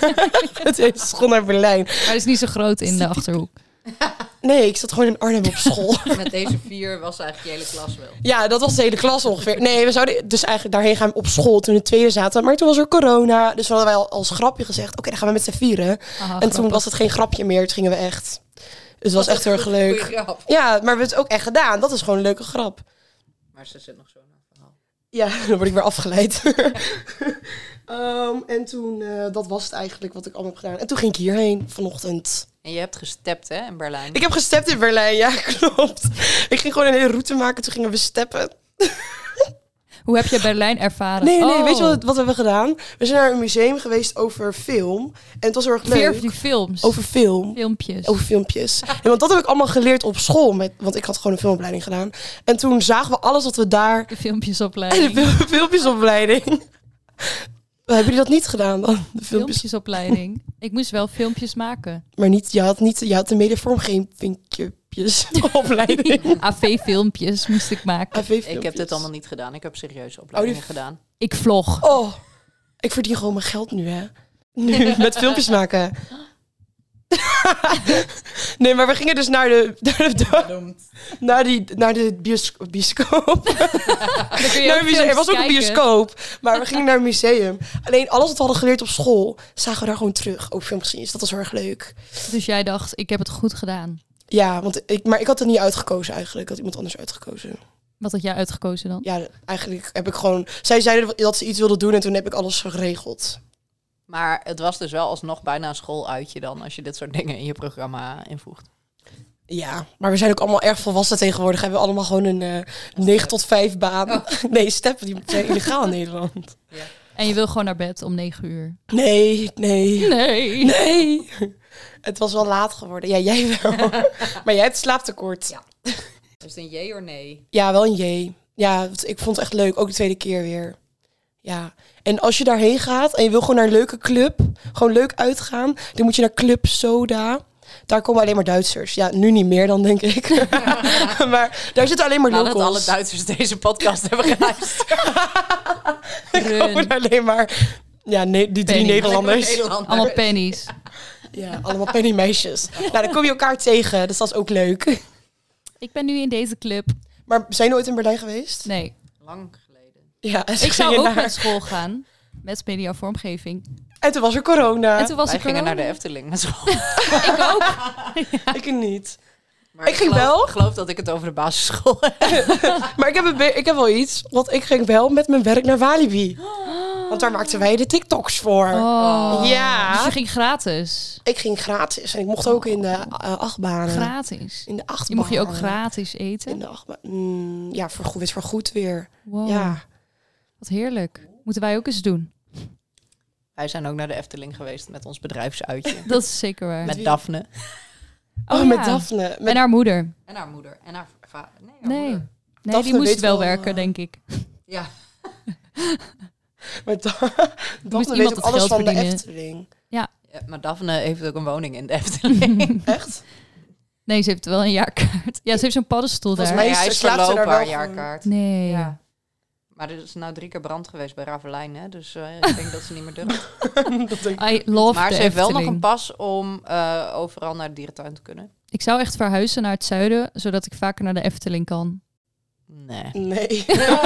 Speaker 3: Het hele school naar Berlijn. (laughs)
Speaker 2: Maar dat is niet zo groot in de Achterhoek.
Speaker 3: Nee, ik zat gewoon in Arnhem op school.
Speaker 1: Met deze vier was eigenlijk je hele klas wel.
Speaker 3: ja, dat was de hele klas ongeveer. Nee, we zouden dus eigenlijk daarheen gaan op school toen we in het tweede zaten. Maar toen was er corona. Dus hadden wij al als grapje gezegd, oké, dan gaan we met z'n vieren.
Speaker 2: Ah,
Speaker 3: en toen was het geen grapje meer, toen gingen we echt. Dus het was echt heel erg
Speaker 1: Goeie
Speaker 3: leuk.
Speaker 1: grap.
Speaker 3: Ja, maar we hebben het ook echt gedaan. Dat is gewoon een leuke grap.
Speaker 1: Maar ze zit nog zo naar het verhaal.
Speaker 3: Ja, (laughs) dan word ik weer afgeleid. Ehm, en toen, eh, dat was het eigenlijk wat ik allemaal heb gedaan. En toen ging ik hierheen vanochtend.
Speaker 1: En je hebt gestept, hè, in Berlijn.
Speaker 3: Ik heb gestept in Berlijn, ja, (laughs) klopt. Ik ging gewoon een hele route maken, toen gingen we steppen.
Speaker 2: Hoe heb je Berlijn ervaren?
Speaker 3: Nee, nee,
Speaker 2: Oh.
Speaker 3: weet je wat, wat hebben we gedaan? We zijn naar een museum geweest over film. En het was heel erg
Speaker 2: Veer
Speaker 3: leuk.
Speaker 2: die films.
Speaker 3: Over film.
Speaker 2: filmpjes.
Speaker 3: Over filmpjes. En want dat heb ik allemaal geleerd op school. Met, want ik had gewoon een filmopleiding gedaan. En toen zagen we alles wat we daar... (laughs)
Speaker 2: De filmpjes
Speaker 3: En
Speaker 2: opleiding.
Speaker 3: de fil- filmpjesopleiding. (laughs) hebben jullie dat niet gedaan dan? De filmpjes.
Speaker 2: Filmpjesopleiding. Ik moest wel filmpjes maken.
Speaker 3: Maar niet, je, had niet, je had de
Speaker 1: (laughs)
Speaker 3: medevormgevingjes opleiding.
Speaker 2: AV-filmpjes moest ik maken.
Speaker 1: Ik heb dit allemaal niet gedaan. Ik heb serieuze opleidingen gedaan.
Speaker 2: Ik vlog.
Speaker 3: Oh, ik verdien gewoon mijn geld nu, hè? Nu, met filmpjes maken. (laughs) nee, maar we gingen dus naar de, naar de, naar die, naar de bios- bioscoop.
Speaker 1: (laughs)
Speaker 2: Ah, Dan kun je
Speaker 3: Naar
Speaker 2: ook
Speaker 3: een museum. Er
Speaker 2: filmpjes
Speaker 3: was ook een
Speaker 2: kijken.
Speaker 3: bioscoop, maar we gingen naar een museum. Alleen alles wat we hadden geleerd op school, zagen we daar gewoon terug. Ook filmpjes, dus dat was heel erg leuk.
Speaker 2: Dus jij dacht, ik heb het goed gedaan.
Speaker 3: Ja, want ik, maar ik had het niet uitgekozen eigenlijk. Ik had iemand anders uitgekozen.
Speaker 2: Wat had jij uitgekozen dan?
Speaker 3: Ja, eigenlijk heb ik gewoon... Zij zeiden dat ze iets wilden doen en toen heb ik alles geregeld.
Speaker 1: Maar het was dus wel alsnog bijna een schooluitje dan, als je dit soort dingen in je programma invoegt.
Speaker 3: Ja, maar we zijn ook allemaal erg volwassen tegenwoordig. Hebben we allemaal gewoon een eh 9 tot 5 baan. (laughs) Nee, steppen die zijn illegaal in Nederland.
Speaker 2: En je wil gewoon naar bed om negen uur.
Speaker 3: Nee, nee,
Speaker 2: Nee.
Speaker 3: nee. (laughs) Het was wel laat geworden. Ja, jij wel. Maar jij hebt slaaptekort.
Speaker 1: Ja. Dus een jee of nee?
Speaker 3: Ja, wel een J. Ja, want ik vond het echt leuk. Ook de tweede keer weer. Ja. En als je daarheen gaat en je wil gewoon naar een leuke club, gewoon leuk uitgaan, dan moet je naar Club Soda. Daar komen alleen maar Duitsers. Ja, nu niet meer dan, denk ik. maar daar zitten alleen maar
Speaker 1: Nadat
Speaker 3: locals.
Speaker 1: alle
Speaker 3: (laughs)
Speaker 1: Duitsers deze podcast hebben (laughs) geluisterd.
Speaker 2: Run.
Speaker 3: Gewoon alleen maar. Ja, ne- die drie
Speaker 2: Penny.
Speaker 3: Nederlanders.
Speaker 2: Allemaal pennies.
Speaker 3: Ja, allemaal pennymeisjes. Nou, dan kom je elkaar tegen, dus dat is ook leuk.
Speaker 2: Ik ben nu in deze club.
Speaker 3: Maar zijn jullie ooit in Berlijn geweest?
Speaker 2: Nee.
Speaker 1: Lang geleden.
Speaker 3: Ja, en ze
Speaker 2: Ik zou
Speaker 3: gingen
Speaker 2: ook
Speaker 3: naar-
Speaker 2: met school gaan. Met media vormgeving.
Speaker 3: En toen was er corona.
Speaker 2: En toen was
Speaker 1: Wij
Speaker 2: ik
Speaker 1: gingen naar de Efteling met
Speaker 3: (laughs)
Speaker 1: school.
Speaker 2: Ik ook.
Speaker 3: Ik niet.
Speaker 1: Maar
Speaker 3: Ik ging
Speaker 1: geloof-
Speaker 3: wel.
Speaker 1: Ik geloof dat ik het over de basisschool heb.
Speaker 3: Maar ik heb, een be- ik heb wel iets, want ik ging wel met mijn werk naar Walibi. Want daar maakten wij de TikToks voor.
Speaker 2: Oh.
Speaker 3: Ja.
Speaker 2: Dus je ging gratis.
Speaker 3: Ik ging gratis en ik mocht ook in de eh, achtbanen.
Speaker 2: Gratis.
Speaker 3: in de achtbaan.
Speaker 2: Je mocht je ook gratis eten.
Speaker 3: In de achtbaan. Mm, ja, voor goed, is voor goed weer.
Speaker 2: Wow.
Speaker 3: Ja.
Speaker 2: Wat heerlijk. Moeten wij ook eens doen.
Speaker 1: Wij zijn ook naar de Efteling geweest met ons
Speaker 3: (laughs)
Speaker 1: bedrijfsuitje.
Speaker 2: Dat is zeker waar.
Speaker 1: Met
Speaker 3: wie?
Speaker 1: Daphne.
Speaker 3: Oh,
Speaker 2: ja.
Speaker 3: met Daphne. Met
Speaker 2: En haar moeder.
Speaker 1: En haar moeder. En haar vader. Nee, haar
Speaker 2: Nee.
Speaker 1: moeder.
Speaker 2: Nee,
Speaker 3: Daphne
Speaker 2: die moest
Speaker 3: weet
Speaker 2: wel
Speaker 3: wel,
Speaker 2: werken,
Speaker 3: eh,
Speaker 2: denk ik.
Speaker 1: Ja.
Speaker 3: Maar da (laughs) dan
Speaker 2: iemand
Speaker 3: weet ook
Speaker 2: het
Speaker 3: alles
Speaker 2: geld
Speaker 3: van de
Speaker 2: verdienen.
Speaker 3: Efteling.
Speaker 1: Ja, Maar Daphne heeft ook een woning
Speaker 3: (laughs)
Speaker 1: in de Efteling.
Speaker 2: (laughs)
Speaker 3: Echt? (laughs)
Speaker 2: Nee, ze heeft wel een jaarkaart. Ja, ze heeft zo'n paddenstoel
Speaker 3: Volgens
Speaker 2: daar.
Speaker 3: mij-
Speaker 1: Ja, hij
Speaker 3: slaapt ze daar
Speaker 1: verlopen,
Speaker 3: wel
Speaker 1: haar
Speaker 3: gewoon.
Speaker 1: jaarkaart.
Speaker 2: Nee.
Speaker 1: Ja. Maar er is nou drie keer brand geweest bij Ravelijn, hè? dus eh, ik denk dat ze niet meer
Speaker 2: (laughs)
Speaker 1: durft.
Speaker 3: dat denk ik.
Speaker 2: I love
Speaker 1: Maar
Speaker 2: de
Speaker 1: ze heeft wel nog
Speaker 2: Efteling.
Speaker 1: een pas om eh, overal naar de dierentuin te kunnen.
Speaker 2: Ik zou echt verhuizen naar het zuiden, zodat ik vaker naar de Efteling
Speaker 1: (laughs)
Speaker 2: kan.
Speaker 1: Nee.
Speaker 2: (laughs)
Speaker 3: Nee.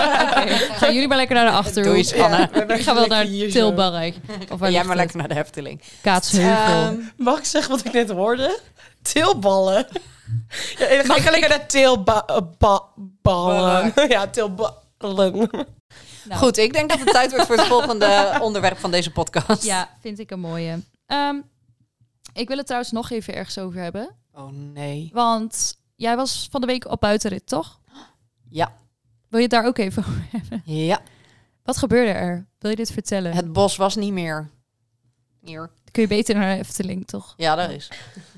Speaker 1: (laughs)
Speaker 2: Gaan jullie maar lekker naar de
Speaker 1: Doe
Speaker 2: Achterhoek.
Speaker 1: iets, Anne.
Speaker 2: Ik ga wel naar Tilburg. Of waar
Speaker 1: En jij maar
Speaker 2: ligt het?
Speaker 1: lekker naar de Efteling.
Speaker 2: Kaatsheuvel.
Speaker 1: Ehm,
Speaker 3: Mag ik zeggen wat ik net hoorde? Teelballen. Ja, en dan ga ik alleen naar teelballen. ballen. Ja, teelballen.
Speaker 2: Nou.
Speaker 1: Goed, ik denk dat het tijd wordt voor het
Speaker 2: (laughs)
Speaker 1: volgende onderwerp van deze podcast.
Speaker 2: Ja, vind ik een mooie. Ehm, ik wil het trouwens nog even ergens over hebben.
Speaker 1: Oh nee.
Speaker 2: Want jij was van de week op buitenrit, toch?
Speaker 1: Ja.
Speaker 2: Wil je het daar ook even over hebben?
Speaker 1: Ja,
Speaker 2: Wat gebeurde er? Wil je dit vertellen?
Speaker 1: het bos was niet meer. Hier.
Speaker 2: Kun je beter naar de Efteling, toch?
Speaker 1: Ja, dat is.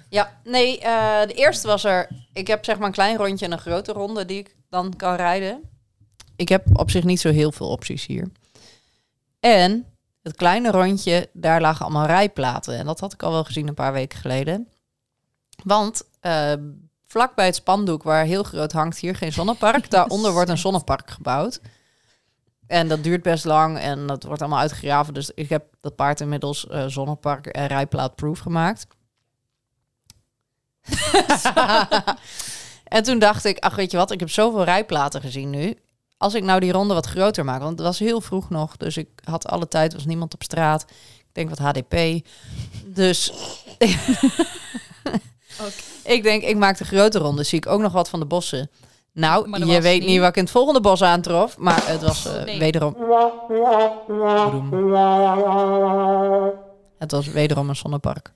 Speaker 1: Ja, nee, eh, de eerste was er. Ik heb zeg maar een klein rondje en een grote ronde die ik dan kan rijden. Ik heb op zich niet zo heel veel opties hier. En het kleine rondje, daar lagen allemaal rijplaten. En dat had ik al wel gezien een paar weken geleden. Want eh, vlak bij het spandoek waar heel groot hangt hier geen zonnepark, daaronder wordt een zonnepark gebouwd. En dat duurt best lang en dat wordt allemaal uitgegraven. Dus ik heb dat paard inmiddels eh, zonnepark en rijplaatproof gemaakt. (laughs) en toen dacht ik, ach weet je wat, ik heb zoveel rijplaten gezien nu. Als ik nou die ronde wat groter maak, want het was heel vroeg nog, dus ik had alle tijd, was niemand op straat. Ik denk wat HDP. Dus (laughs) ik denk, ik maak de grote ronde, zie ik ook nog wat van de bossen.
Speaker 2: Maar
Speaker 1: Nou,
Speaker 2: dat
Speaker 1: je
Speaker 2: was
Speaker 1: weet
Speaker 2: niet.
Speaker 1: niet wat ik in het volgende bos aantrof, maar het was eh,
Speaker 2: Oh, nee.
Speaker 1: wederom. Het was wederom een zonnepark.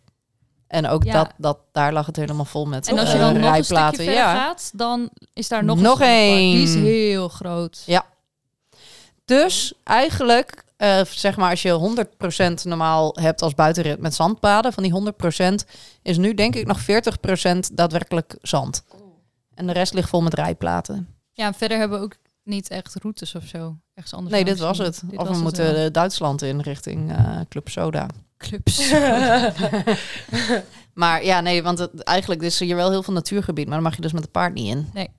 Speaker 1: En ook
Speaker 2: Ja.
Speaker 1: dat, dat, daar lag het helemaal vol met
Speaker 2: En als je
Speaker 1: eh,
Speaker 2: dan nog een stukje
Speaker 1: rijplaten.
Speaker 2: verder
Speaker 1: ja.
Speaker 2: gaat, dan is daar nog,
Speaker 1: Nog
Speaker 2: een zonnepark.
Speaker 1: één.
Speaker 2: Die is heel groot.
Speaker 1: Ja. Dus eigenlijk, eh, zeg maar, als je 100% normaal hebt als buitenrit met zandpaden, van die 100% is nu denk ik nog 40% daadwerkelijk zand. En de rest ligt vol met rijplaten.
Speaker 2: Ja, en verder hebben we ook niet echt routes of zo. Ergens anders
Speaker 1: Nee, dit
Speaker 2: langs
Speaker 1: was
Speaker 2: zien.
Speaker 1: het.
Speaker 2: Dit
Speaker 1: Of
Speaker 2: was
Speaker 1: we
Speaker 2: het
Speaker 1: moeten
Speaker 2: wel.
Speaker 1: eh, Duitsland in richting eh, Club
Speaker 2: (laughs)
Speaker 1: Soda. (laughs)
Speaker 2: clubs.
Speaker 1: Maar ja, nee, want het, eigenlijk is er hier wel heel veel natuurgebied, maar daar mag je dus met het paard niet in.
Speaker 2: Nee.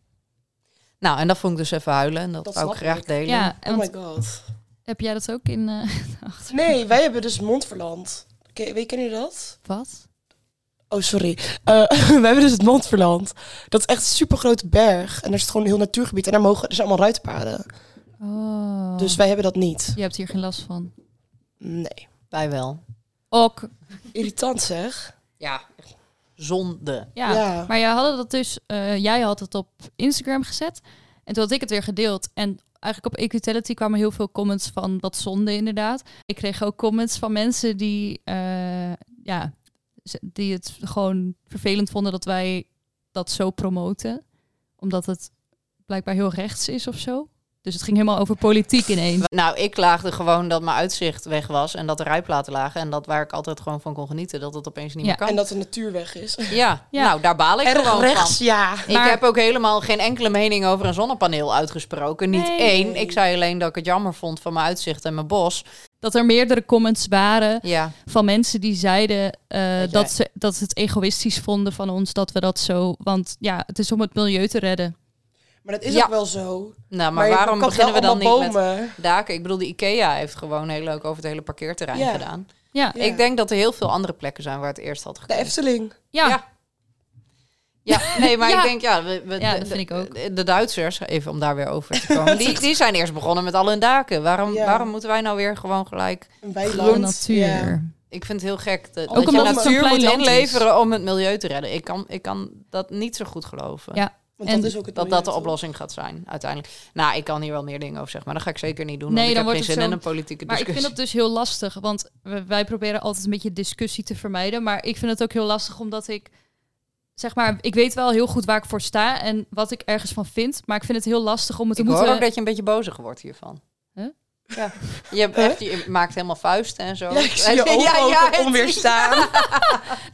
Speaker 1: Nou, en dat vond ik dus even huilen. En dat,
Speaker 3: Dat
Speaker 1: wou ik
Speaker 3: snap
Speaker 1: graag
Speaker 3: ik.
Speaker 1: delen.
Speaker 2: (laughs) ja, en
Speaker 3: Oh
Speaker 2: want
Speaker 3: my god.
Speaker 2: heb jij dat ook in eh, (laughs) achter?
Speaker 3: Nee, wij hebben dus Mondverland. Ken, weet- kennen jullie dat?
Speaker 2: Wat?
Speaker 3: Oh, sorry. Eh, (laughs) we hebben dus het Montferland. Dat is echt een supergrote berg. En er is gewoon een heel natuurgebied. En daar mogen, er zijn allemaal ruitpaden.
Speaker 2: Oh.
Speaker 3: Dus wij hebben dat niet.
Speaker 2: je hebt hier geen last van.
Speaker 3: Nee.
Speaker 1: Wij wel.
Speaker 2: Ook.
Speaker 3: Irritant zeg.
Speaker 1: Ja, zonde.
Speaker 2: Ja.
Speaker 3: Ja.
Speaker 2: Maar jij had dat dus, eh, jij had het op Instagram gezet. En toen had ik het weer gedeeld. En eigenlijk op Equitality kwamen heel veel comments van wat zonde inderdaad. Ik kreeg ook comments van mensen die, eh, ja, ze- die het gewoon vervelend vonden dat wij dat zo promoten. Omdat het blijkbaar heel rechts is of zo. Dus het ging helemaal over politiek ineens.
Speaker 1: Nou, ik klaagde gewoon dat mijn uitzicht weg was en dat de rijplaten lagen en dat waar ik altijd gewoon van kon genieten, dat het opeens niet
Speaker 2: Ja.
Speaker 1: meer
Speaker 2: (laughs)
Speaker 1: kan.
Speaker 3: En dat de natuur weg is.
Speaker 1: Ja,
Speaker 2: Ja.
Speaker 1: nou daar baal ik
Speaker 3: Erg
Speaker 1: gewoon
Speaker 3: rechts,
Speaker 1: van.
Speaker 3: ja.
Speaker 1: Ik
Speaker 2: Maar-
Speaker 1: heb ook helemaal geen enkele mening over een zonnepaneel uitgesproken. Niet
Speaker 2: Nee.
Speaker 1: één. Ik zei alleen dat ik het jammer vond van mijn uitzicht en mijn bos.
Speaker 2: Dat er meerdere comments waren
Speaker 1: Ja,
Speaker 2: van mensen die zeiden eh,
Speaker 1: Dat
Speaker 2: dat, ze, dat ze het egoïstisch vonden van ons dat we dat zo. Want ja, het is om het milieu te redden.
Speaker 3: Maar dat is
Speaker 1: Ja.
Speaker 3: ook wel zo.
Speaker 1: nou,
Speaker 3: Maar
Speaker 1: maar,
Speaker 3: je
Speaker 1: waarom
Speaker 3: kapt
Speaker 1: beginnen we
Speaker 3: wel
Speaker 1: dan niet
Speaker 3: allemaal
Speaker 1: met
Speaker 3: bomen.
Speaker 1: daken? Ik bedoel, de IKEA heeft gewoon heel leuk over het hele parkeerterrein
Speaker 3: Ja.
Speaker 1: gedaan.
Speaker 2: Ja,
Speaker 3: Ja.
Speaker 1: Ik denk dat er heel veel andere plekken zijn waar het eerst had
Speaker 3: De
Speaker 1: gekund.
Speaker 3: Efteling.
Speaker 2: ja.
Speaker 1: Ja. Ja, nee, maar
Speaker 2: Ja.
Speaker 1: ik denk, ja, we, we-
Speaker 2: Ja,
Speaker 1: de-
Speaker 2: dat vind ik ook.
Speaker 1: De, de Duitsers, even om daar weer over te
Speaker 2: (laughs)
Speaker 1: komen, die, die zijn eerst begonnen met al hun daken. Waarom,
Speaker 3: Ja.
Speaker 1: waarom moeten wij nou weer gewoon gelijk...
Speaker 3: Een
Speaker 2: Gewoon
Speaker 3: weiland.
Speaker 2: natuur.
Speaker 3: Ja.
Speaker 1: Ik vind het heel gek dat,
Speaker 3: Ook
Speaker 1: dat je
Speaker 3: omdat het
Speaker 2: zo'n
Speaker 1: natuur
Speaker 2: klein
Speaker 1: moet
Speaker 2: land is.
Speaker 1: inleveren om het milieu te redden. Ik kan, ik kan dat niet zo goed geloven.
Speaker 2: Ja,
Speaker 3: Want
Speaker 2: En
Speaker 3: dat is ook het
Speaker 1: Dat dat de
Speaker 3: milieu,
Speaker 1: oplossing gaat zijn, uiteindelijk. Nou, ik kan hier wel meer dingen over zeggen, maar dat ga ik zeker niet doen.
Speaker 2: Nee,
Speaker 1: want
Speaker 2: dan
Speaker 1: ik heb
Speaker 2: wordt
Speaker 1: geen
Speaker 2: het
Speaker 1: zin in
Speaker 2: zo'n-
Speaker 1: een politieke
Speaker 2: Maar ik
Speaker 1: discussie.
Speaker 2: vind het dus heel lastig, want we- wij proberen altijd een beetje discussie te vermijden. Maar ik vind het ook heel lastig omdat ik, zeg maar, ik weet wel heel goed waar ik voor sta en wat ik ergens van vind. Maar ik vind het heel lastig om het te
Speaker 1: Ik hoor
Speaker 2: moeten...
Speaker 1: ook dat je een beetje bozig wordt hiervan.
Speaker 2: Huh?
Speaker 1: Ja. Je, hebt
Speaker 3: Huh?
Speaker 1: echt, je maakt helemaal vuisten en zo.
Speaker 3: toch? Ja, ik
Speaker 1: (laughs)
Speaker 3: zie je ogen ook (laughs)
Speaker 1: het-
Speaker 3: onweer staan.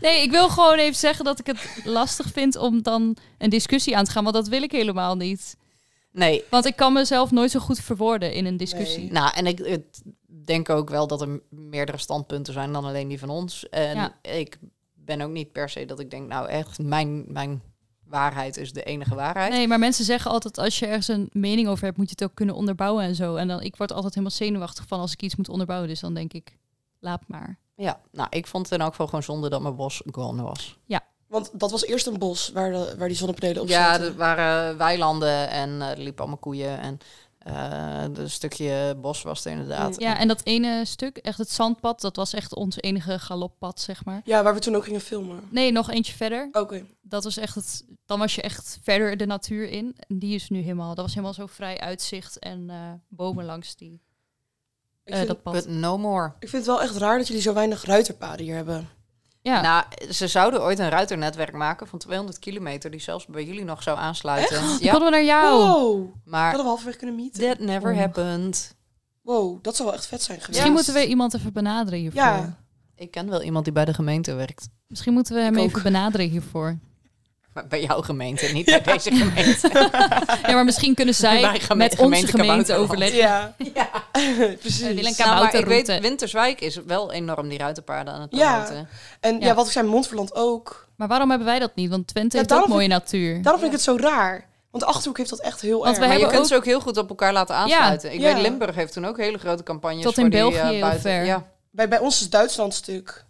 Speaker 2: Nee, ik wil gewoon even zeggen dat ik het lastig vind om dan een discussie aan te gaan, want dat wil ik helemaal niet.
Speaker 1: Nee,
Speaker 2: Want ik kan mezelf nooit zo goed verwoorden in een discussie.
Speaker 3: Nee.
Speaker 1: Nou, en ik, het- denk ook wel dat er meerdere standpunten zijn dan alleen die van ons. En
Speaker 2: Ja.
Speaker 1: ik ben ook niet per se dat ik denk, nou echt, mijn, mijn waarheid is de enige waarheid.
Speaker 2: Nee, maar mensen zeggen altijd als je ergens een mening over hebt, moet je het ook kunnen onderbouwen en zo. En dan ik word altijd helemaal zenuwachtig van als ik iets moet onderbouwen, dus dan denk ik laat maar.
Speaker 1: Ja, nou, ik vond het dan ook wel gewoon zonde dat mijn bos gone was.
Speaker 3: Want dat was eerst een bos waar, de, waar die zonnepanelen op
Speaker 1: Ja,
Speaker 3: zaten.
Speaker 1: er waren weilanden en eh, er liepen allemaal koeien en eh, een stukje bos was er inderdaad.
Speaker 2: Ja, en dat ene stuk, echt het zandpad, dat was echt ons enige galoppad, zeg maar.
Speaker 3: Ja, waar we toen ook gingen filmen.
Speaker 2: Nee, nog eentje verder.
Speaker 3: Oké.
Speaker 2: Dat was echt het, dan was je echt verder de natuur in. En die is nu helemaal, dat was helemaal zo vrij uitzicht en eh, bomen langs die,
Speaker 3: Ik,
Speaker 2: eh,
Speaker 3: vind-
Speaker 2: dat pad.
Speaker 1: But no more.
Speaker 3: ik vind het wel echt raar dat jullie zo weinig ruiterpaden hier hebben.
Speaker 2: Ja,
Speaker 1: Nou, ze zouden ooit een ruiternetwerk maken van 200 kilometer, die zelfs bij jullie nog zou aansluiten.
Speaker 2: dan
Speaker 1: Ja,
Speaker 2: konden we naar jou.
Speaker 3: Wow.
Speaker 1: maar
Speaker 3: Hadden we halverwege kunnen meeten.
Speaker 1: That never
Speaker 2: Oh.
Speaker 1: happened.
Speaker 3: Wow, dat zou wel echt vet zijn geweest.
Speaker 2: Misschien moeten we iemand even benaderen hiervoor.
Speaker 3: Ja.
Speaker 1: Ik ken wel iemand die bij de gemeente werkt.
Speaker 2: Misschien moeten we hem
Speaker 3: Ik ook.
Speaker 2: even benaderen hiervoor.
Speaker 1: Maar bij jouw gemeente, (laughs) niet bij deze gemeente.
Speaker 2: Ja, maar misschien kunnen zij
Speaker 1: Mijn gemeente-
Speaker 2: met onze
Speaker 1: gemeente
Speaker 2: gemeente
Speaker 1: Kabouterland.
Speaker 2: overleggen.
Speaker 3: Ja.
Speaker 1: (laughs)
Speaker 3: (laughs)
Speaker 1: ja.
Speaker 2: Wij willen
Speaker 3: Precies.
Speaker 2: een
Speaker 1: Nou, maar ik
Speaker 2: kabouterroute.
Speaker 1: weet, Winterswijk is wel enorm die ruitenpaarden aan het
Speaker 3: Ja.
Speaker 1: promoten.
Speaker 3: En ja.
Speaker 2: Ja.
Speaker 3: wat ik zei, Montferland ook.
Speaker 2: Maar waarom hebben wij dat niet? Want Twente
Speaker 3: Ja,
Speaker 2: heeft ook
Speaker 3: daarom
Speaker 2: mooie natuur.
Speaker 3: Daarom vind ik het zo raar. Want de Achterhoek heeft dat echt heel
Speaker 2: Want
Speaker 3: erg.
Speaker 2: wij
Speaker 1: Maar je
Speaker 2: hebben
Speaker 1: kunt ze
Speaker 2: ook-
Speaker 1: ook heel goed op elkaar laten aansluiten. Ik
Speaker 3: Ja.
Speaker 1: weet, Limburg heeft toen ook hele grote campagnes
Speaker 2: Tot in
Speaker 1: voor die, eh,
Speaker 2: België heel
Speaker 1: buiten-
Speaker 2: ver.
Speaker 1: Ja.
Speaker 3: Bij, bij ons is Duitsland stuk.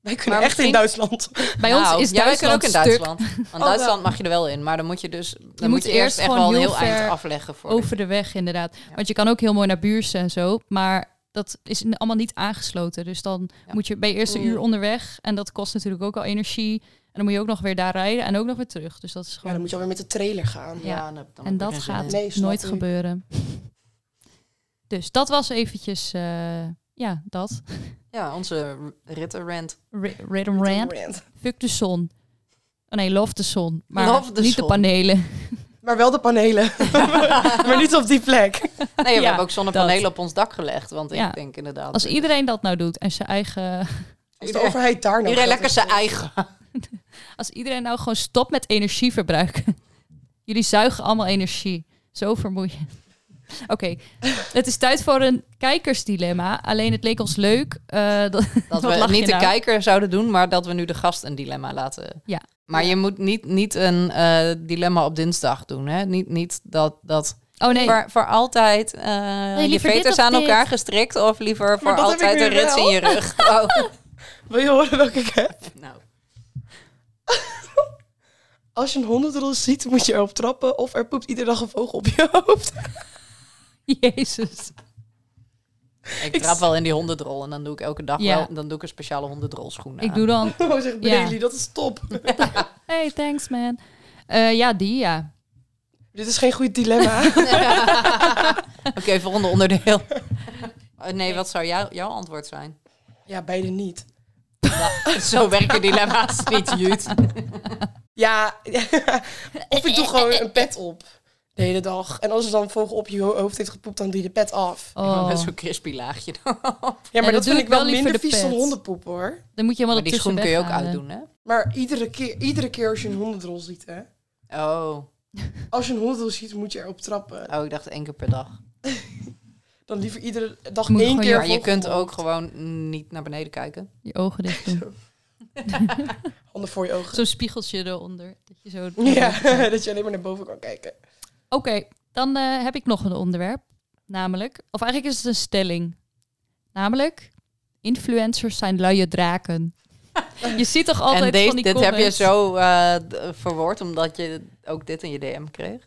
Speaker 3: Wij kunnen
Speaker 1: Maar
Speaker 3: echt in
Speaker 1: misschien-
Speaker 3: Duitsland. (laughs)
Speaker 2: Bij
Speaker 1: Nou,
Speaker 2: ons is
Speaker 1: ja, wij kunnen
Speaker 2: Duitsland
Speaker 1: ook in
Speaker 2: stuk
Speaker 1: Duitsland. Want
Speaker 2: Oh,
Speaker 1: Duitsland mag je er wel in, maar dan moet je dus dan moet je eerst echt
Speaker 2: gewoon
Speaker 1: wel een
Speaker 2: heel
Speaker 1: heel eind
Speaker 2: ver
Speaker 1: afleggen voor.
Speaker 2: over de weg inderdaad. Want je kan ook heel mooi naar Buursen en zo, maar dat is n- allemaal niet aangesloten. Dus dan
Speaker 1: Ja.
Speaker 2: moet je bij eerste
Speaker 3: Mm.
Speaker 2: uur onderweg en dat kost natuurlijk ook al energie. En dan moet je ook nog weer daar rijden en ook nog weer terug. Dus dat is
Speaker 3: Ja,
Speaker 2: gewoon.
Speaker 3: dan moet je alweer met de trailer gaan.
Speaker 1: Ja, dan heb ik dan
Speaker 2: en
Speaker 1: ook
Speaker 2: dat
Speaker 1: geen zin
Speaker 2: gaat
Speaker 1: in.
Speaker 3: Nee, snap
Speaker 2: nooit
Speaker 3: ik.
Speaker 2: gebeuren. Dus dat was eventjes, eh, ja, dat.
Speaker 1: Ja, onze ritterrand.
Speaker 2: Ri- Rhythm Rant.
Speaker 3: Rant.
Speaker 2: Fuck de zon. Oh nee, love de zon. Maar
Speaker 1: Love the
Speaker 2: niet
Speaker 1: zon.
Speaker 2: de panelen.
Speaker 3: Maar wel de panelen. maar niet op die plek.
Speaker 1: Nee, we
Speaker 2: Ja,
Speaker 1: hebben ook zonnepanelen
Speaker 2: dat.
Speaker 1: op ons dak gelegd. Want
Speaker 2: Ja.
Speaker 1: ik denk inderdaad...
Speaker 2: Als iedereen dat nou doet en zijn eigen... (laughs)
Speaker 3: Als de
Speaker 1: Iedereen-
Speaker 3: overheid daar nou
Speaker 1: Iedereen
Speaker 3: gaat,
Speaker 1: lekker
Speaker 3: is
Speaker 1: zijn
Speaker 3: het-
Speaker 1: eigen.
Speaker 2: Als iedereen nou gewoon stopt met energie verbruiken. (laughs) Jullie zuigen allemaal energie. Zo vermoeiend. Oké, (laughs) het is tijd voor een kijkersdilemma. Alleen het leek ons leuk. eh, dat, (laughs)
Speaker 1: Dat
Speaker 2: Wat
Speaker 1: we
Speaker 2: lach je
Speaker 1: niet de
Speaker 2: nou?
Speaker 1: kijker zouden doen, maar dat we nu de gast een dilemma laten.
Speaker 2: Ja.
Speaker 1: Maar je moet niet, niet een eh, dilemma op dinsdag doen. Hè? Niet, niet dat, dat
Speaker 2: oh nee, Nou,
Speaker 1: voor, voor altijd eh, je
Speaker 2: liever dit
Speaker 1: veters
Speaker 2: of
Speaker 1: aan
Speaker 2: dit.
Speaker 1: elkaar gestrikt. Of liever voor
Speaker 3: dat heb ik
Speaker 1: altijd
Speaker 3: nu
Speaker 1: een rits in je
Speaker 2: (laughs)
Speaker 1: rug. Oh.
Speaker 3: Wil je horen welke ik heb?
Speaker 1: nou.
Speaker 3: Als je een hondenrol ziet, moet je erop trappen. Of er poept iedere dag een vogel op je hoofd.
Speaker 2: (laughs)
Speaker 3: (laughs)
Speaker 2: jezus.
Speaker 1: Ik trap wel in die hondendrol en dan doe ik elke dag
Speaker 2: Ja.
Speaker 1: wel. Dan doe ik een speciale hondendrolschoen
Speaker 2: Ik
Speaker 1: aan.
Speaker 2: doe dan...
Speaker 3: Oh, zegt
Speaker 2: Ja.
Speaker 3: Brely, dat is top. (laughs)
Speaker 2: Hey, thanks man. Eh, ja, die ja.
Speaker 3: Dit is geen goed dilemma.
Speaker 2: (laughs)
Speaker 1: Oké, volgende onderdeel. Oh, nee, wat zou jou, jouw antwoord
Speaker 2: (laughs)
Speaker 1: zijn?
Speaker 3: ja, beide niet.
Speaker 1: Zo werken dilemma's niet, Jut.
Speaker 3: Ja, (laughs) of ik doe gewoon een pet op de hele dag. En als er dan een vogel op je ho- hoofd heeft gepoept, dan doe je de pet af.
Speaker 1: Oh.
Speaker 2: Oh,
Speaker 1: Met zo'n crispy laagje.
Speaker 3: Ja, maar
Speaker 2: dan
Speaker 3: dat
Speaker 2: doe
Speaker 3: vind
Speaker 2: ik
Speaker 3: ik wel
Speaker 2: wel liever
Speaker 3: minder
Speaker 2: de
Speaker 3: vies dan
Speaker 2: pet.
Speaker 3: hondenpoep, hoor.
Speaker 2: dan moet je helemaal
Speaker 1: Maar die
Speaker 2: ertussen
Speaker 1: schoen kun je ook
Speaker 2: weghalen.
Speaker 1: uitdoen, hè?
Speaker 3: Maar iedere keer, iedere keer als je een hondendrol ziet, hè.
Speaker 1: Oh,
Speaker 3: Als je een hondendrol ziet, moet je erop trappen.
Speaker 1: oh ik dacht één keer per dag.
Speaker 3: Dan liever iedere dag
Speaker 2: Moet
Speaker 3: één
Speaker 2: gewoon-
Speaker 3: keer
Speaker 2: Ja,
Speaker 1: Maar je
Speaker 3: vogel
Speaker 1: kunt
Speaker 3: op.
Speaker 1: ook gewoon niet naar beneden kijken.
Speaker 2: Je ogen dicht
Speaker 1: (laughs)
Speaker 2: doen.
Speaker 3: Handen voor je ogen.
Speaker 2: Zo'n spiegeltje eronder. Dat je zo...
Speaker 3: (laughs)
Speaker 1: (laughs)
Speaker 3: Ja, dat je alleen maar naar boven kan kijken.
Speaker 2: Oké, dan eh, heb ik nog een onderwerp. Namelijk, of eigenlijk is het een stelling. Namelijk, influencers zijn luie draken. Je ziet toch altijd
Speaker 1: en deze-
Speaker 2: van die
Speaker 1: dit heb je
Speaker 2: comments-
Speaker 1: zo eh, d- verwoord omdat je ook dit in je DM kreeg.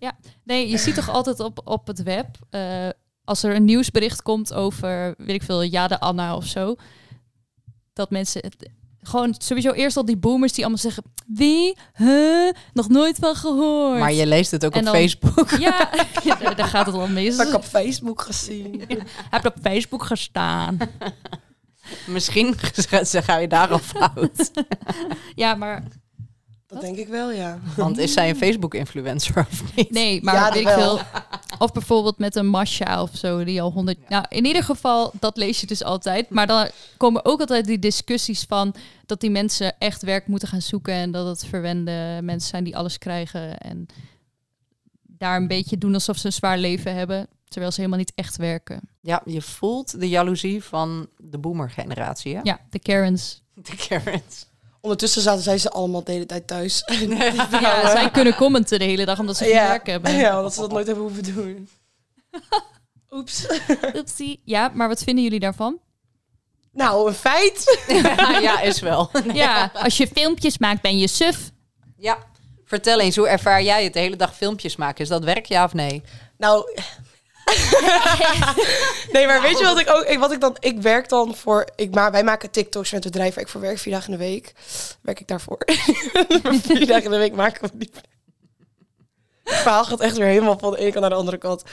Speaker 2: Nee, je ziet toch altijd op, op het web... eh, als er een nieuwsbericht komt over, weet ik veel, Jade Anna of zo... dat mensen... het- gewoon sowieso eerst al die boomers die allemaal zeggen... Wie? Huh? Nog nooit van gehoord.
Speaker 1: Maar je leest het ook
Speaker 2: En
Speaker 1: op
Speaker 2: dan-
Speaker 1: Facebook. (laughs)
Speaker 2: Ja, (laughs) daar, daar gaat het al mis.
Speaker 3: Dat heb ik op Facebook gezien.
Speaker 2: Heb op Facebook
Speaker 1: (laughs)
Speaker 2: gestaan.
Speaker 1: Misschien (laughs) ga je daar
Speaker 2: (laughs)
Speaker 1: al fout.
Speaker 2: Ja, maar
Speaker 3: Dat denk ik wel, ja.
Speaker 1: Want is zij een Facebook-influencer of niet?
Speaker 2: Nee, maar
Speaker 3: Ja,
Speaker 2: weet ik
Speaker 3: jawel.
Speaker 2: veel. Of bijvoorbeeld met een Masha of zo, die al honderd... Nou, in ieder geval, dat lees je dus altijd. Maar dan komen ook altijd die discussies van... dat die mensen echt werk moeten gaan zoeken... en dat het verwende mensen zijn die alles krijgen. En daar een beetje doen alsof ze een zwaar leven hebben... terwijl ze helemaal niet echt werken.
Speaker 1: Ja, je voelt de jaloezie van de boomer-generatie, hè?
Speaker 2: Ja, de Karens.
Speaker 1: (laughs) De Karens.
Speaker 3: Ondertussen zaten zij ze allemaal de hele
Speaker 2: (laughs)
Speaker 3: tijd thuis.
Speaker 1: (laughs)
Speaker 2: Ja, zij kunnen commenten de hele dag omdat ze geen werk hebben.
Speaker 3: Ja, dat ze dat nooit hebben hoeven
Speaker 2: (laughs)
Speaker 3: doen. Oeps.
Speaker 2: Oepsie. Ja, maar wat vinden jullie
Speaker 3: (laughs)
Speaker 2: daarvan?
Speaker 3: Nou, een feit.
Speaker 1: (laughs) ja, is wel.
Speaker 2: Ja, als je filmpjes maakt, ben je suf.
Speaker 1: Ja. Vertel eens, hoe ervaar jij het de hele dag filmpjes maken? Is dat werk, ja of nee?
Speaker 2: (laughs)
Speaker 3: Nou.
Speaker 2: Nou.
Speaker 3: nee, maar weet je wat ik ook. ik- Wat ik dan. Ik werk dan voor. Ik, maar wij maken TikToks met het bedrijf waar ik voor werk. Vier dagen in de week. Werk ik daarvoor. (laughs) vier dagen in de week maken we die. Het verhaal gaat echt weer helemaal van de ene kant naar de andere kant.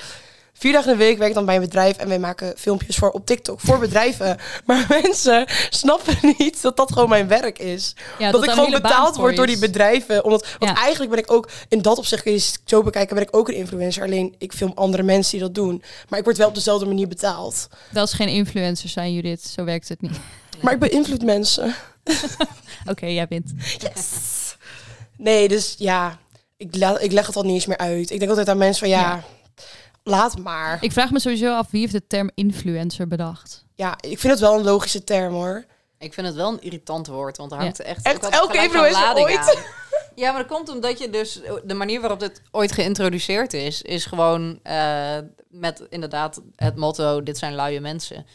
Speaker 3: Vier dagen in de week werk ik dan bij een bedrijf en wij maken filmpjes voor op TikTok voor bedrijven. Maar (laughs) mensen snappen niet dat dat gewoon mijn werk is.
Speaker 2: Ja,
Speaker 3: dat,
Speaker 2: daar
Speaker 3: ik
Speaker 2: een
Speaker 3: gewoon
Speaker 2: hele baan
Speaker 3: betaald
Speaker 2: voor
Speaker 3: word door
Speaker 2: is.
Speaker 3: die bedrijven. Omdat, want
Speaker 2: Ja.
Speaker 3: eigenlijk ben ik ook, in dat opzicht kun je het zo bekijken, ben ik ook een influencer. Alleen ik film andere mensen die dat doen. Maar ik word wel op dezelfde manier betaald.
Speaker 2: Dat is geen influencer zijn, Judith. Zo werkt het
Speaker 3: (laughs)
Speaker 2: niet.
Speaker 3: Maar ik beïnvloed mensen.
Speaker 2: Oké, jij wint.
Speaker 3: Yes. Nee, dus ja, ik, la- ik leg het al niet eens meer uit. Ik denk altijd aan mensen van ja,
Speaker 2: Ja.
Speaker 3: laat maar.
Speaker 2: Ik vraag me sowieso af wie heeft de term influencer bedacht.
Speaker 3: Ja, ik vind het wel een logische term
Speaker 2: (laughs)
Speaker 3: hoor.
Speaker 1: Ik vind het wel een irritant woord, want er hangt echt...
Speaker 3: Echt
Speaker 1: ook altijd
Speaker 3: elke
Speaker 1: gelijk een
Speaker 3: influencer
Speaker 1: lading
Speaker 3: ooit. (laughs)
Speaker 1: aan. Ja, maar dat komt omdat je dus... De manier waarop dit ooit geïntroduceerd is, is gewoon eh, met inderdaad het motto... Dit zijn luie mensen.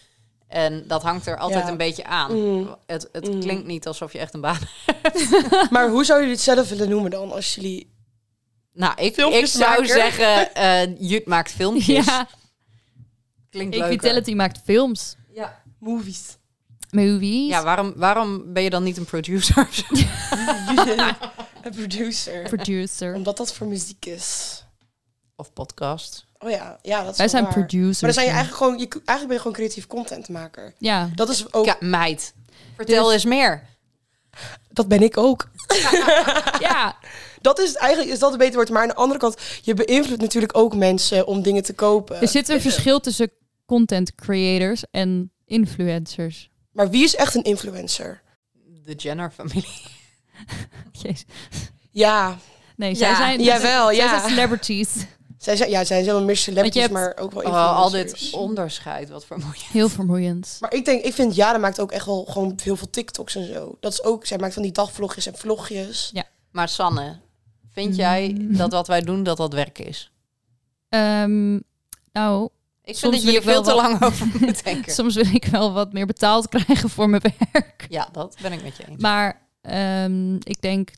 Speaker 1: En dat hangt er altijd
Speaker 3: Ja.
Speaker 1: een beetje aan.
Speaker 3: Mm.
Speaker 1: Het, het
Speaker 3: Mm.
Speaker 1: klinkt niet alsof je echt een baan (laughs)
Speaker 3: Maar hoe zou jullie het zelf willen noemen dan? Als jullie...
Speaker 1: Nou, ik, ik
Speaker 3: Filmpjes
Speaker 1: zou
Speaker 3: maken.
Speaker 1: zeggen, eh Jut maakt filmpjes.
Speaker 2: Ja,
Speaker 1: Klinkt leuker.
Speaker 2: Equitality maakt films.
Speaker 1: Ja.
Speaker 3: Movies.
Speaker 2: Movies.
Speaker 1: ja, waarom, waarom ben je dan niet een producer? (laughs) of zo?
Speaker 2: (laughs)
Speaker 3: Een producer.
Speaker 2: producer.
Speaker 3: Omdat dat voor muziek is.
Speaker 1: of podcast?
Speaker 3: Oh ja, ja dat is
Speaker 2: Wij
Speaker 3: wel
Speaker 2: zijn
Speaker 3: waar.
Speaker 2: producers.
Speaker 3: Maar dan zijn je eigenlijk gewoon... Je, eigenlijk ben je gewoon creatief contentmaker. (laughs)
Speaker 2: Ja.
Speaker 3: Dat is ook...
Speaker 1: Ja, meid.
Speaker 3: Dus-
Speaker 1: Vertel eens meer.
Speaker 3: Dat ben ik ook.
Speaker 2: ja.
Speaker 3: Dat is eigenlijk is dat een beter woord. Maar aan de andere kant, je beïnvloedt natuurlijk ook mensen om dingen te kopen.
Speaker 2: Er zit een verschil tussen content creators en influencers.
Speaker 3: Maar wie is echt een influencer?
Speaker 1: De Jenner-familie.
Speaker 2: Jezus.
Speaker 3: Ja,
Speaker 2: Nee, zij
Speaker 1: Ja,
Speaker 2: zijn,
Speaker 3: jawel,
Speaker 2: zij
Speaker 3: ja.
Speaker 2: zijn celebrities.
Speaker 3: zij zijn, ja, zij zijn wel meer celebrities,
Speaker 2: hebt-
Speaker 3: maar ook wel
Speaker 1: Oh,
Speaker 3: influencers.
Speaker 1: al dit onderscheid, wat vermoeiend.
Speaker 2: Heel vermoeiend.
Speaker 3: Maar ik denk, ik vind Jara maakt ook echt wel gewoon heel veel TikToks en zo. Dat is ook, zij maakt van die dagvlogjes en vlogjes.
Speaker 1: Maar Sanne, vind jij
Speaker 2: Mm.
Speaker 1: dat wat wij doen, dat dat werk is?
Speaker 2: Ehm, nou,
Speaker 1: Ik
Speaker 2: Soms
Speaker 1: vind dat je
Speaker 2: wil
Speaker 1: hier
Speaker 2: ik wel
Speaker 1: veel te
Speaker 2: wat-
Speaker 1: lang (laughs) over moet denken.
Speaker 2: soms wil ik wel wat meer betaald krijgen voor mijn (laughs) werk.
Speaker 1: Ja, dat ben ik met je eens.
Speaker 2: Maar ehm, ik denk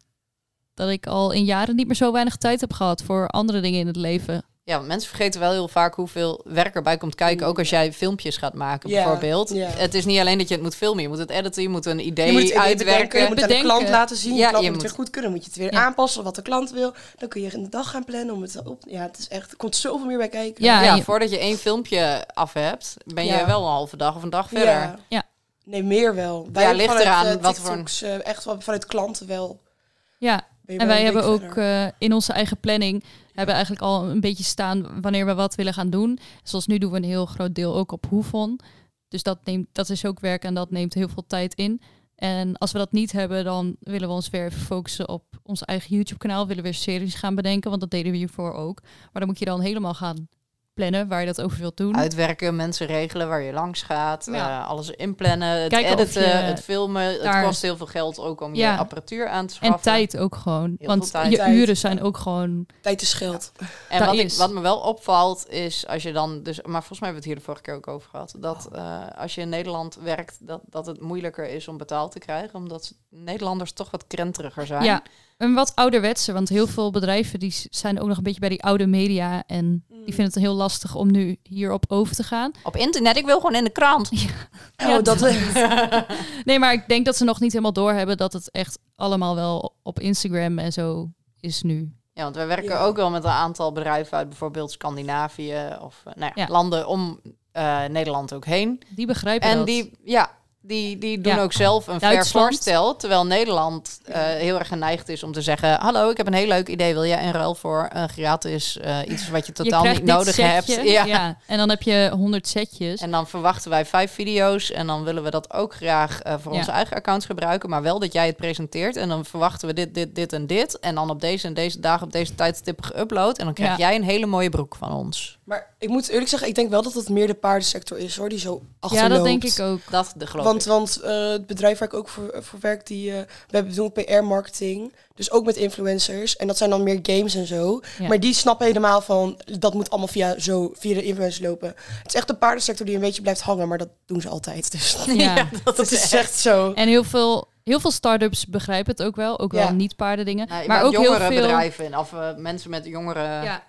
Speaker 2: dat ik al in jaren niet meer zo weinig tijd heb gehad voor andere dingen in het leven.
Speaker 1: Ja, want mensen vergeten wel heel vaak hoeveel werk erbij komt kijken. Ook als jij filmpjes gaat maken,
Speaker 3: Ja,
Speaker 1: bijvoorbeeld.
Speaker 3: ja.
Speaker 1: Het is niet alleen dat je het moet filmen. Je moet het editen, je moet een idee
Speaker 3: Je moet het idee bedenken,
Speaker 1: uitwerken.
Speaker 3: je moet het aan de
Speaker 2: bedenken.
Speaker 3: klant laten zien.
Speaker 1: Ja,
Speaker 3: de klant
Speaker 1: je
Speaker 3: moet
Speaker 1: moet-
Speaker 3: het weer goed kunnen. Moet je het weer
Speaker 2: Ja.
Speaker 3: aanpassen wat de klant wil. Dan kun je een dag gaan plannen om het op... Ja, het is echt, er komt zoveel meer bij kijken.
Speaker 2: Ja,
Speaker 1: ja,
Speaker 2: je-
Speaker 1: voordat je één filmpje af hebt, ben
Speaker 3: Ja.
Speaker 1: je wel een halve dag of een dag verder.
Speaker 3: Ja.
Speaker 2: Ja.
Speaker 3: Nee, meer wel. Wij
Speaker 1: Ja,
Speaker 3: hebben
Speaker 1: ligt
Speaker 3: vanuit,
Speaker 1: eraan
Speaker 3: eh,
Speaker 1: wat voor een-
Speaker 3: TikToks, eh, echt wel vanuit klanten wel.
Speaker 2: Ja,
Speaker 3: Ben je
Speaker 2: en
Speaker 3: wel
Speaker 2: wij
Speaker 3: een
Speaker 2: hebben
Speaker 3: week
Speaker 2: ook
Speaker 3: verder.
Speaker 2: eh, in onze eigen planning hebben eigenlijk al een beetje staan wanneer we wat willen gaan doen. Zoals nu doen we een heel groot deel ook op Hoefon. Dus dat, neemt, dat is ook werk en dat neemt heel veel tijd in. En als we dat niet hebben, dan willen we ons weer even focussen op ons eigen YouTube-kanaal. Willen we weer series gaan bedenken, want dat deden we hiervoor ook. Maar dan moet je dan helemaal gaan plannen waar je dat over wilt doen.
Speaker 1: Uitwerken, mensen regelen waar je langs gaat,
Speaker 2: Ja.
Speaker 1: eh, alles inplannen, het
Speaker 2: Kijken of
Speaker 1: editen,
Speaker 2: je
Speaker 1: het filmen.
Speaker 2: daar-
Speaker 1: Het kost heel veel geld ook om
Speaker 2: Ja.
Speaker 1: je apparatuur aan te
Speaker 2: En
Speaker 1: schaffen.
Speaker 2: tijd ook gewoon.
Speaker 1: veel
Speaker 2: want
Speaker 1: tijd.
Speaker 2: je
Speaker 3: Tijd,
Speaker 2: uren
Speaker 3: ja.
Speaker 2: zijn ook gewoon...
Speaker 3: Tijd is geld.
Speaker 1: En
Speaker 2: Daar
Speaker 1: wat, ik-
Speaker 2: is.
Speaker 1: wat me wel opvalt is als je dan dus, maar volgens mij hebben we het hier de vorige keer ook over gehad, dat
Speaker 2: Oh.
Speaker 1: eh, als je in Nederland werkt, dat, dat het moeilijker is om betaald te krijgen, omdat ze- Nederlanders toch wat krenteriger zijn.
Speaker 2: Ja, en wat ouderwetse, want heel veel bedrijven die s- zijn ook nog een beetje bij die oude media en
Speaker 1: Mm.
Speaker 2: die vinden het heel lastig om nu hierop over te gaan.
Speaker 1: Op internet, ik wil gewoon in de krant. (laughs)
Speaker 3: Oh,
Speaker 2: Ja,
Speaker 3: dat,
Speaker 2: Nee, maar ik denk dat ze nog niet helemaal doorhebben dat het echt allemaal wel op Instagram en zo is nu.
Speaker 1: Ja, want wij werken
Speaker 3: Ja.
Speaker 1: ook wel met een aantal bedrijven uit bijvoorbeeld Scandinavië of eh, nou ja,
Speaker 2: Ja.
Speaker 1: landen om eh, Nederland ook heen.
Speaker 2: Die begrijpen
Speaker 1: En
Speaker 2: dat.
Speaker 1: die, ja, die, die doen
Speaker 2: Ja.
Speaker 1: ook zelf een fair
Speaker 2: Duitsland.
Speaker 1: voorstel. Terwijl Nederland eh, heel erg geneigd is om te zeggen... hallo, ik heb een heel leuk idee. Wil jij in ruil voor een gratis eh, iets wat je totaal
Speaker 2: krijgt
Speaker 1: niet
Speaker 2: dit
Speaker 1: nodig
Speaker 2: setje,
Speaker 1: hebt? Ja.
Speaker 2: En dan heb je 100 setjes.
Speaker 1: En dan verwachten wij vijf video's. En dan willen we dat ook graag eh, voor
Speaker 2: Ja.
Speaker 1: onze eigen accounts gebruiken. Maar wel dat jij het presenteert. En dan verwachten we dit, dit, dit en dit. En dan op deze en deze dagen, op deze tijdstippen geüpload. En dan krijg
Speaker 2: Ja.
Speaker 1: jij een hele mooie broek van ons.
Speaker 3: maar ik moet eerlijk zeggen, ik denk wel dat het meer de paardensector is hoor, die zo
Speaker 2: ja,
Speaker 3: achterloopt.
Speaker 2: dat denk ik
Speaker 1: (laughs)
Speaker 2: ook.
Speaker 1: Dat de geloof
Speaker 3: Want,
Speaker 1: ik.
Speaker 3: want eh, het bedrijf waar ik ook voor, voor werk, die, eh, we hebben doen PR-marketing. Dus ook met influencers. En dat zijn dan meer games en zo.
Speaker 2: Ja.
Speaker 3: Maar die snappen helemaal van, dat moet allemaal via, zo, via de influencers lopen. Het is echt de paardensector die een beetje blijft hangen, maar dat doen ze
Speaker 1: (laughs)
Speaker 3: altijd. Dus dat,
Speaker 2: Ja.
Speaker 1: dat
Speaker 3: is echt zo.
Speaker 2: En heel veel, heel veel start-ups begrijpen het ook wel. Ook
Speaker 3: Ja.
Speaker 2: wel niet paardendingen.
Speaker 1: Nou,
Speaker 2: maar ook heel
Speaker 1: jongere
Speaker 2: veel...
Speaker 1: bedrijven. en- Of eh, mensen met jongere...
Speaker 2: Ja.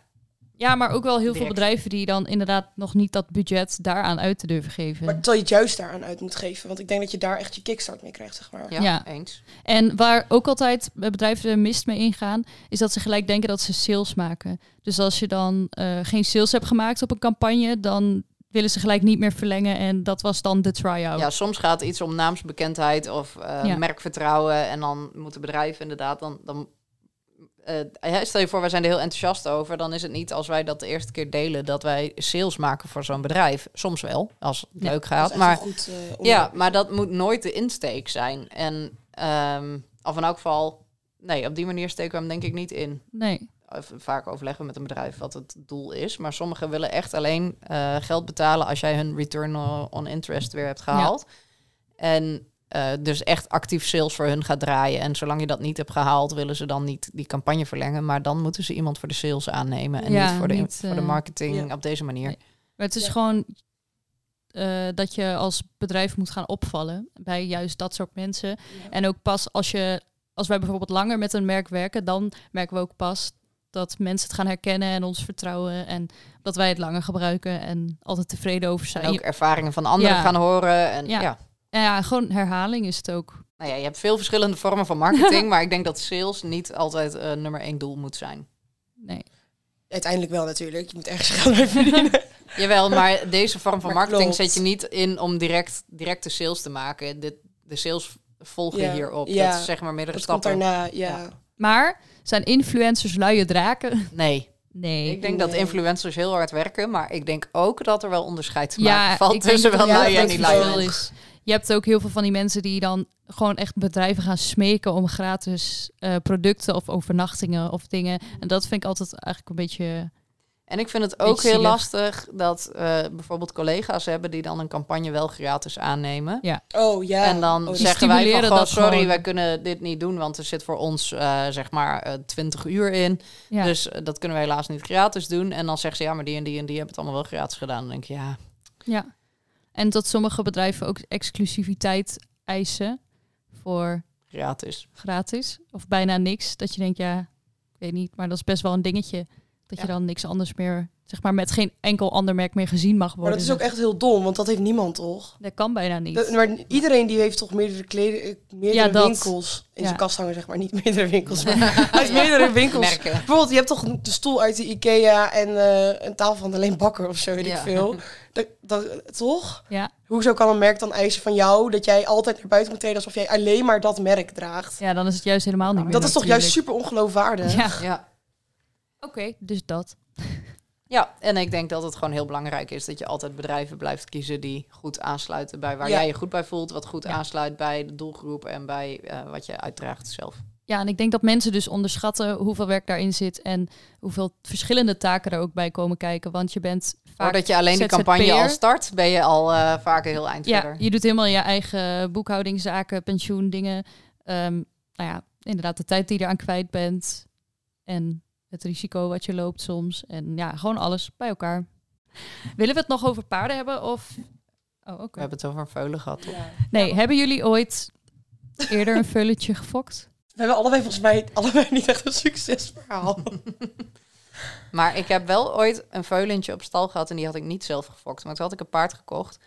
Speaker 2: ja, maar ook wel heel veel
Speaker 1: Direct.
Speaker 2: bedrijven die dan inderdaad nog niet dat budget daaraan uit te durven geven.
Speaker 3: Maar terwijl je het juist daaraan uit moet geven. Want ik denk dat je daar echt je kickstart mee krijgt, zeg maar.
Speaker 1: Ja,
Speaker 2: Ja.
Speaker 1: eens.
Speaker 2: En waar ook altijd bedrijven mist mee ingaan, is dat ze gelijk denken dat ze sales maken. Dus als je dan eh, geen sales hebt gemaakt op een campagne, dan willen ze gelijk niet meer verlengen. En dat was dan de try-out.
Speaker 1: Ja, soms gaat iets om naamsbekendheid of eh,
Speaker 2: Oh. Ja.
Speaker 1: merkvertrouwen. En dan moeten bedrijven inderdaad... Dan, dan, eh, hè, stel je voor, wij zijn er heel enthousiast over. Dan is het niet als wij dat de eerste keer delen... dat wij sales maken voor zo'n bedrijf. Soms wel, als het
Speaker 2: Ja,
Speaker 1: leuk
Speaker 3: Dat is
Speaker 1: gaat.
Speaker 3: echt
Speaker 1: Maar,
Speaker 3: een goed, eh,
Speaker 1: ja,
Speaker 3: onderwerp.
Speaker 1: maar dat moet nooit de insteek zijn. En ehm, of in elk geval... Nee, op die manier steken we hem denk ik niet in.
Speaker 2: Nee.
Speaker 1: of- vaak overleggen met een bedrijf wat het doel is. Maar sommigen willen echt alleen eh, geld betalen als jij hun return o- on interest weer hebt gehaald. En eh, dus echt actief sales voor hun gaat draaien. En zolang je dat niet hebt gehaald, willen ze dan niet die campagne verlengen. Maar dan moeten ze iemand voor de sales aannemen en
Speaker 2: Ja,
Speaker 1: niet voor de,
Speaker 2: niet,
Speaker 1: voor de
Speaker 2: eh,
Speaker 1: marketing
Speaker 3: ja.
Speaker 1: op deze manier.
Speaker 2: Maar het is
Speaker 3: Ja.
Speaker 2: gewoon eh, dat je als bedrijf moet gaan opvallen bij juist dat soort mensen. En ook pas als je, als wij bijvoorbeeld langer met een merk werken, dan merken we ook pas dat mensen het gaan herkennen en ons vertrouwen en dat wij het langer gebruiken en altijd tevreden over zijn.
Speaker 1: En ook ervaringen van anderen
Speaker 2: Ja.
Speaker 1: gaan horen. En, ja.
Speaker 2: Ja. En ja, gewoon herhaling is het ook.
Speaker 1: Nou ja, je hebt veel verschillende vormen van marketing, (laughs) maar ik denk dat sales niet altijd eh, nummer één doel moet zijn.
Speaker 2: Nee.
Speaker 3: Uiteindelijk wel natuurlijk. Je moet ergens geld mee
Speaker 1: (laughs)
Speaker 3: verdienen.
Speaker 1: Jawel, maar deze vorm van
Speaker 3: Maar
Speaker 1: marketing
Speaker 3: klopt.
Speaker 1: zet je niet in om direct, direct de sales te maken. De, de sales volgen
Speaker 3: Ja.
Speaker 1: hierop.
Speaker 3: Ja.
Speaker 1: Dat is zeg maar meerdere
Speaker 3: Dat komt
Speaker 1: stappen.
Speaker 3: daarna, ja.
Speaker 1: Ja.
Speaker 2: Maar zijn influencers luie draken?
Speaker 1: Nee,
Speaker 2: Nee.
Speaker 1: ik denk dat
Speaker 3: Nee.
Speaker 1: influencers heel hard werken, maar ik denk ook dat er wel onderscheid te
Speaker 2: Ja,
Speaker 1: maken valt
Speaker 2: ik denk
Speaker 1: tussen
Speaker 2: dat
Speaker 1: wel nou
Speaker 3: er dus wel
Speaker 1: lui en
Speaker 3: een
Speaker 1: niet
Speaker 3: groot
Speaker 1: lui. mensen.
Speaker 3: verschil
Speaker 2: is. Je hebt ook heel veel van die mensen die dan gewoon echt bedrijven gaan smeken om gratis eh, producten of overnachtingen of dingen. En dat vind ik altijd eigenlijk een beetje.
Speaker 1: En ik vind het
Speaker 2: Beetje
Speaker 1: ook heel
Speaker 2: zielig.
Speaker 1: lastig dat eh, bijvoorbeeld collega's hebben die dan een campagne wel gratis aannemen.
Speaker 3: Oh ja.
Speaker 1: en dan
Speaker 3: Oh,
Speaker 2: die
Speaker 1: zeggen wij van,
Speaker 2: stimuleren
Speaker 1: goh,
Speaker 2: dat
Speaker 1: sorry,
Speaker 2: gewoon.
Speaker 1: wij kunnen dit niet doen, want er zit voor ons eh, zeg maar eh, 20 uur in.
Speaker 2: Ja.
Speaker 1: Dus eh, dat kunnen we helaas niet gratis doen. En dan zeggen ze, ja, maar die en die en die hebben het allemaal wel gratis gedaan. Dan denk je, ja,
Speaker 2: ja. En dat sommige bedrijven ook exclusiviteit eisen voor
Speaker 1: gratis.
Speaker 2: gratis of bijna niks. Dat je denkt, ja, ik weet niet, maar dat is best wel een dingetje. Dat je
Speaker 1: Ja.
Speaker 2: dan niks anders meer, zeg maar, met geen enkel ander merk meer gezien mag worden.
Speaker 3: maar dat is ook echt heel dom, want dat heeft niemand toch?
Speaker 2: Dat kan bijna niet.
Speaker 3: Dat- maar iedereen die heeft toch meerdere, kleden, eh, meerdere
Speaker 2: Ja, dat.
Speaker 3: winkels in
Speaker 2: Ja.
Speaker 3: zijn kast hangen, zeg maar. Niet (laughs) meerdere
Speaker 2: (laughs)
Speaker 3: winkels, maar hij heeft meerdere winkels.
Speaker 1: Merken.
Speaker 3: Bijvoorbeeld, je hebt toch een- de stoel uit de Ikea en eh, een tafel van alleen bakker of zo, weet
Speaker 1: Ja.
Speaker 3: ik
Speaker 2: (laughs)
Speaker 3: veel. Dat, dat, toch?
Speaker 2: Ja.
Speaker 3: Hoezo kan een merk dan eisen van jou dat jij altijd naar buiten moet treden alsof jij alleen maar dat merk draagt?
Speaker 2: Ja, dan is het juist helemaal niet meer.
Speaker 3: dat is toch juist
Speaker 2: natuurlijk.
Speaker 3: super ongeloofwaardig?
Speaker 2: Ja, (laughs)
Speaker 1: Ja.
Speaker 2: oké, dus dat.
Speaker 1: ja, en ik denk dat het gewoon heel belangrijk is dat je altijd bedrijven blijft kiezen die goed aansluiten bij waar
Speaker 3: Ja.
Speaker 1: jij je goed bij voelt. Wat goed
Speaker 2: Ja.
Speaker 1: aansluit bij de doelgroep en bij eh, wat je uitdraagt zelf.
Speaker 2: Ja, en ik denk dat mensen dus onderschatten hoeveel werk daarin zit en hoeveel verschillende taken er ook bij komen kijken. Want je bent vaak.
Speaker 1: Voordat Oh, je alleen die campagne
Speaker 2: ZZP'er.
Speaker 1: al start, ben je al eh, vaak heel eind
Speaker 2: ja,
Speaker 1: verder.
Speaker 2: je doet helemaal je eigen boekhouding, zaken, pensioen, dingen. Ehm, nou ja, inderdaad, de tijd die je eraan kwijt bent en het risico wat je loopt soms. En ja, gewoon alles bij elkaar. Willen we het nog over paarden hebben? Of... Oh, oké.
Speaker 1: We hebben het over een veulen gehad. toch?
Speaker 2: Nee, hebben jullie ooit eerder een vulletje gefokt?
Speaker 3: We hebben allebei volgens mij allebei niet echt een
Speaker 2: (laughs)
Speaker 3: succesverhaal.
Speaker 1: Maar ik heb wel ooit een veulentje op stal gehad en die had ik niet zelf gefokt. Maar toen had ik een paard gekocht.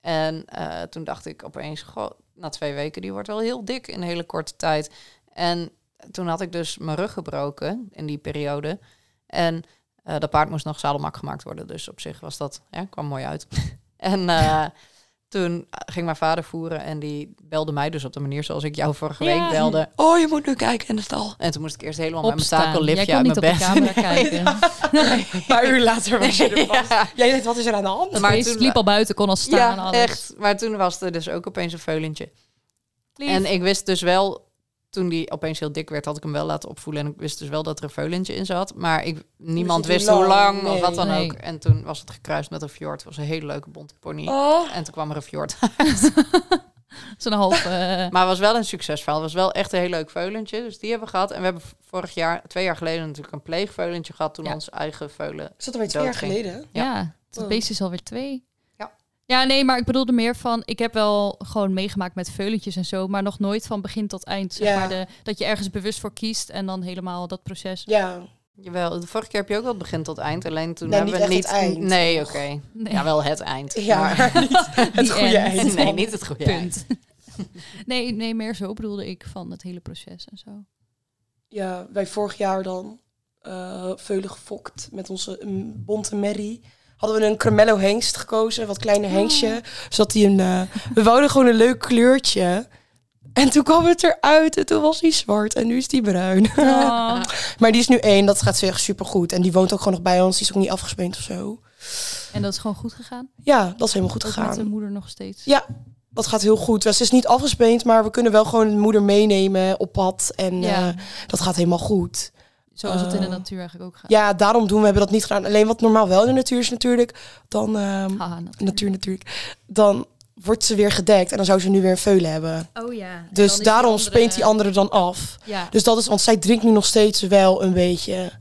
Speaker 1: En eh, toen dacht ik opeens, goh, na twee weken, die wordt wel heel dik in een hele korte tijd. En toen had ik dus mijn rug gebroken in die periode. En eh, dat paard moest nog zadelmak gemaakt worden. Dus op zich was dat, ja, kwam mooi uit. (laughs) en eh, toen ging mijn vader voeren en die belde mij dus op de manier zoals ik jou vorige
Speaker 2: Ja.
Speaker 1: week belde. Oh, je moet nu kijken in de stal. En toen moest ik eerst helemaal met mijn
Speaker 2: Jij
Speaker 1: takellipje
Speaker 2: kon
Speaker 1: uit
Speaker 2: niet
Speaker 1: mijn
Speaker 2: op de
Speaker 1: bed. (laughs)
Speaker 2: camera kijken.
Speaker 3: Een paar uur later was je er vast.
Speaker 1: Ja.
Speaker 3: Jij denkt, wat is er aan de hand?
Speaker 1: Maar
Speaker 2: Maar
Speaker 1: toen-
Speaker 2: liep al buiten, kon al staan en
Speaker 1: ja,
Speaker 2: alles.
Speaker 1: echt. Maar toen was er dus ook opeens een veulentje.
Speaker 2: Lief.
Speaker 1: En ik wist dus wel, toen die opeens heel dik werd, had ik hem wel laten opvoelen. En ik wist dus wel dat er een veulentje in zat. Maar ik, niemand
Speaker 3: Niet hoe
Speaker 1: wist hoe lang
Speaker 3: lang,
Speaker 1: of
Speaker 3: nee.
Speaker 1: wat dan
Speaker 2: Nee.
Speaker 1: ook. En toen was het gekruist met een fjord. Het was een hele leuke bonte pony.
Speaker 3: Oh.
Speaker 1: En toen kwam er een fjord. (laughs)
Speaker 2: Zo'n half... eh,
Speaker 1: Maar het was wel een succesverhaal. Het was wel echt een heel leuk veulentje. Dus die hebben we gehad. En we hebben vorig jaar, twee jaar geleden natuurlijk een pleegveulentje gehad. Toen
Speaker 2: Ja.
Speaker 1: ons eigen veulen...
Speaker 3: Is dat alweer twee
Speaker 1: Dood
Speaker 3: jaar
Speaker 1: ging.
Speaker 3: geleden?
Speaker 2: ja.
Speaker 1: Ja.
Speaker 2: dat beest is alweer twee.
Speaker 1: Ja.
Speaker 2: Ja, nee, maar ik bedoelde meer van... Ik heb wel gewoon meegemaakt met veulentjes en zo... maar nog nooit van begin tot eind. Zeg
Speaker 3: Ja.
Speaker 2: maar de, dat je ergens bewust voor kiest en dan helemaal dat proces.
Speaker 3: Ja.
Speaker 1: Jawel, de vorige keer heb je ook wel het begin tot eind. Alleen toen
Speaker 3: Nee,
Speaker 1: hebben
Speaker 3: niet
Speaker 1: we niet...
Speaker 3: echt het eind. Oh.
Speaker 1: Nee, oké.
Speaker 2: Nee,
Speaker 1: Ja, wel het eind.
Speaker 3: Ja,
Speaker 1: Maar-
Speaker 3: het
Speaker 2: Die
Speaker 3: goede
Speaker 2: end. (laughs)
Speaker 3: (laughs) eind.
Speaker 1: Nee, niet het goede eind.
Speaker 2: punt. (laughs) nee, nee, meer zo bedoelde ik van het hele proces en zo.
Speaker 3: Ja, wij vorig jaar dan eh, veulen gefokt met onze mm, bonte merrie. Hadden we een cremello hengst gekozen, een wat kleine hengstje. Zodat hij een... eh, we wouden gewoon een leuk kleurtje. En toen kwam het eruit en toen was hij zwart en nu is hij bruin.
Speaker 2: Oh,
Speaker 3: (laughs) Maar die is nu één, dat gaat echt supergoed. En die woont ook gewoon nog bij ons, die is ook niet afgespeend of zo.
Speaker 2: (laughs) en dat is gewoon goed gegaan?
Speaker 3: Ja, dat is helemaal goed
Speaker 2: Ook met de
Speaker 3: gegaan.
Speaker 2: moeder nog steeds?
Speaker 3: Ja, dat gaat heel goed. Dus Ze is niet afgespeend, maar we kunnen wel gewoon de moeder meenemen op pad. En
Speaker 2: Ja.
Speaker 3: eh, dat gaat helemaal goed.
Speaker 2: Zoals het in de
Speaker 3: Oh.
Speaker 2: natuur eigenlijk ook gaat.
Speaker 3: Ja, daarom doen we hebben dat niet gedaan. Alleen wat normaal wel in de natuur is natuurlijk, dan ehm,
Speaker 2: Haha, natuur.
Speaker 3: natuur natuurlijk, dan wordt ze weer gedekt en dan zou ze nu weer een veulen hebben.
Speaker 2: Oh ja. En dan
Speaker 3: Dus
Speaker 2: is die
Speaker 3: daarom
Speaker 2: andere-
Speaker 3: speent die andere dan af.
Speaker 2: Ja.
Speaker 3: Dus dat is, want zij drinkt nu nog steeds wel een beetje.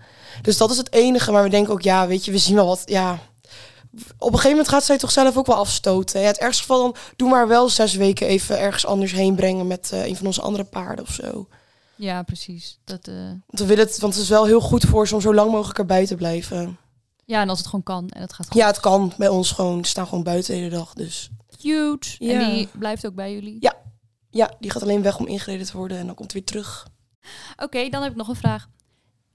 Speaker 3: Dus dat is het enige, maar we denken ook, ja, weet je, we zien wel wat, ja, op een gegeven moment gaat zij toch zelf ook wel afstoten. Ja, het ergste geval dan doe maar wel zes weken even ergens anders heen brengen met eh, een van onze andere paarden of zo.
Speaker 2: Ja, precies. Dat, eh,
Speaker 3: Want, we willen het, want het is wel heel goed voor ze om zo lang mogelijk erbij te blijven.
Speaker 2: ja, en als het gewoon kan en het gaat goed.
Speaker 3: Ja, het kan bij ons gewoon. Ze staan gewoon buiten de hele dag. Dus
Speaker 2: Cute.
Speaker 3: Ja.
Speaker 2: En die blijft ook bij jullie.
Speaker 3: Ja. ja, die gaat alleen weg om ingereden te worden en dan komt weer terug.
Speaker 2: Oké, dan heb ik nog een vraag.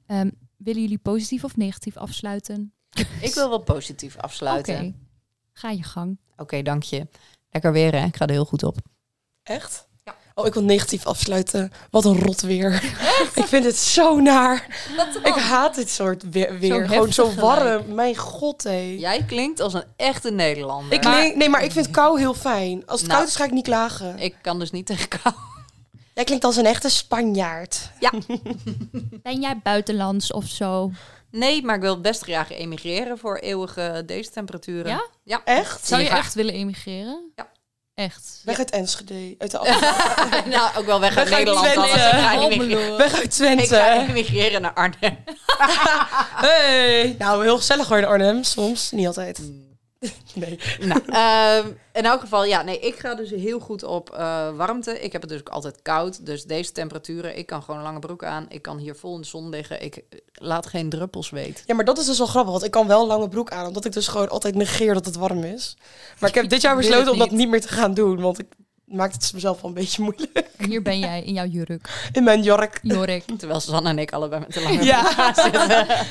Speaker 2: Ehm, willen jullie positief of negatief afsluiten?
Speaker 1: Ik wil wel positief
Speaker 2: Oké.
Speaker 1: afsluiten. Oké,
Speaker 2: Ga je gang.
Speaker 1: dank je. Lekker weer, hè? Ik ga er heel goed op.
Speaker 3: Echt? Ja. Oh, ik wil negatief afsluiten. Wat een rot weer. (laughs) ik vind het zo naar.
Speaker 1: Oh.
Speaker 3: Ik haat dit soort we- weer. gewoon
Speaker 2: heftig
Speaker 3: zo
Speaker 2: gelijk.
Speaker 3: warm. Mijn god, hé.
Speaker 1: Jij klinkt als een echte Nederlander.
Speaker 3: Ik nee, nee, maar ik vind kou heel fijn. Als het
Speaker 1: Nou.
Speaker 3: koud is, ga ik niet klagen.
Speaker 1: ik kan dus niet tegen kou.
Speaker 3: Jij klinkt als een echte Spanjaard.
Speaker 2: Ben jij buitenlands of zo?
Speaker 1: Nee, maar ik wil best graag emigreren voor eeuwige deze temperaturen.
Speaker 2: Ja?
Speaker 3: Echt?
Speaker 2: Zou je
Speaker 1: Ja.
Speaker 2: echt willen emigreren?
Speaker 1: Ja.
Speaker 2: Echt?
Speaker 3: Weg uit Enschede. Uit de Alphen.
Speaker 1: (laughs) nou, ook wel weg uit
Speaker 3: We gaan
Speaker 1: Nederland. Dan, want
Speaker 3: niet
Speaker 1: ik
Speaker 3: weten.
Speaker 1: ga
Speaker 2: Oh,
Speaker 1: emigreren.
Speaker 3: (laughs)
Speaker 2: Almelo.
Speaker 3: Weg uit
Speaker 1: Ik ga
Speaker 3: Twente.
Speaker 1: emigreren naar Arnhem.
Speaker 3: Hey. Nou, heel gezellig hoor in Arnhem. Soms. Niet altijd.
Speaker 1: Mm.
Speaker 3: (laughs) Nee.
Speaker 1: Nou, ehm, in elk geval, ja, nee, ik ga dus heel goed op eh, warmte. Ik heb het dus ook altijd koud. Dus deze temperaturen, ik kan gewoon een lange broek aan. Ik kan hier vol in de zon liggen. Ik eh, laat geen druppels weten.
Speaker 3: Ja, maar dat is dus wel grappig. Want ik kan wel een lange broek aan. Omdat ik dus gewoon altijd negeer dat het warm is. Maar ik heb dit jaar
Speaker 2: Wil
Speaker 3: besloten
Speaker 2: het
Speaker 3: om dat
Speaker 2: niet.
Speaker 3: niet meer te gaan doen. Want ik maak het mezelf wel een beetje moeilijk. (laughs)
Speaker 2: Hier ben jij in jouw jurk.
Speaker 3: In mijn
Speaker 2: (laughs)
Speaker 3: jurk.
Speaker 2: Jorik.
Speaker 1: Terwijl Suzanne en ik allebei met de lange broek
Speaker 3: Ja.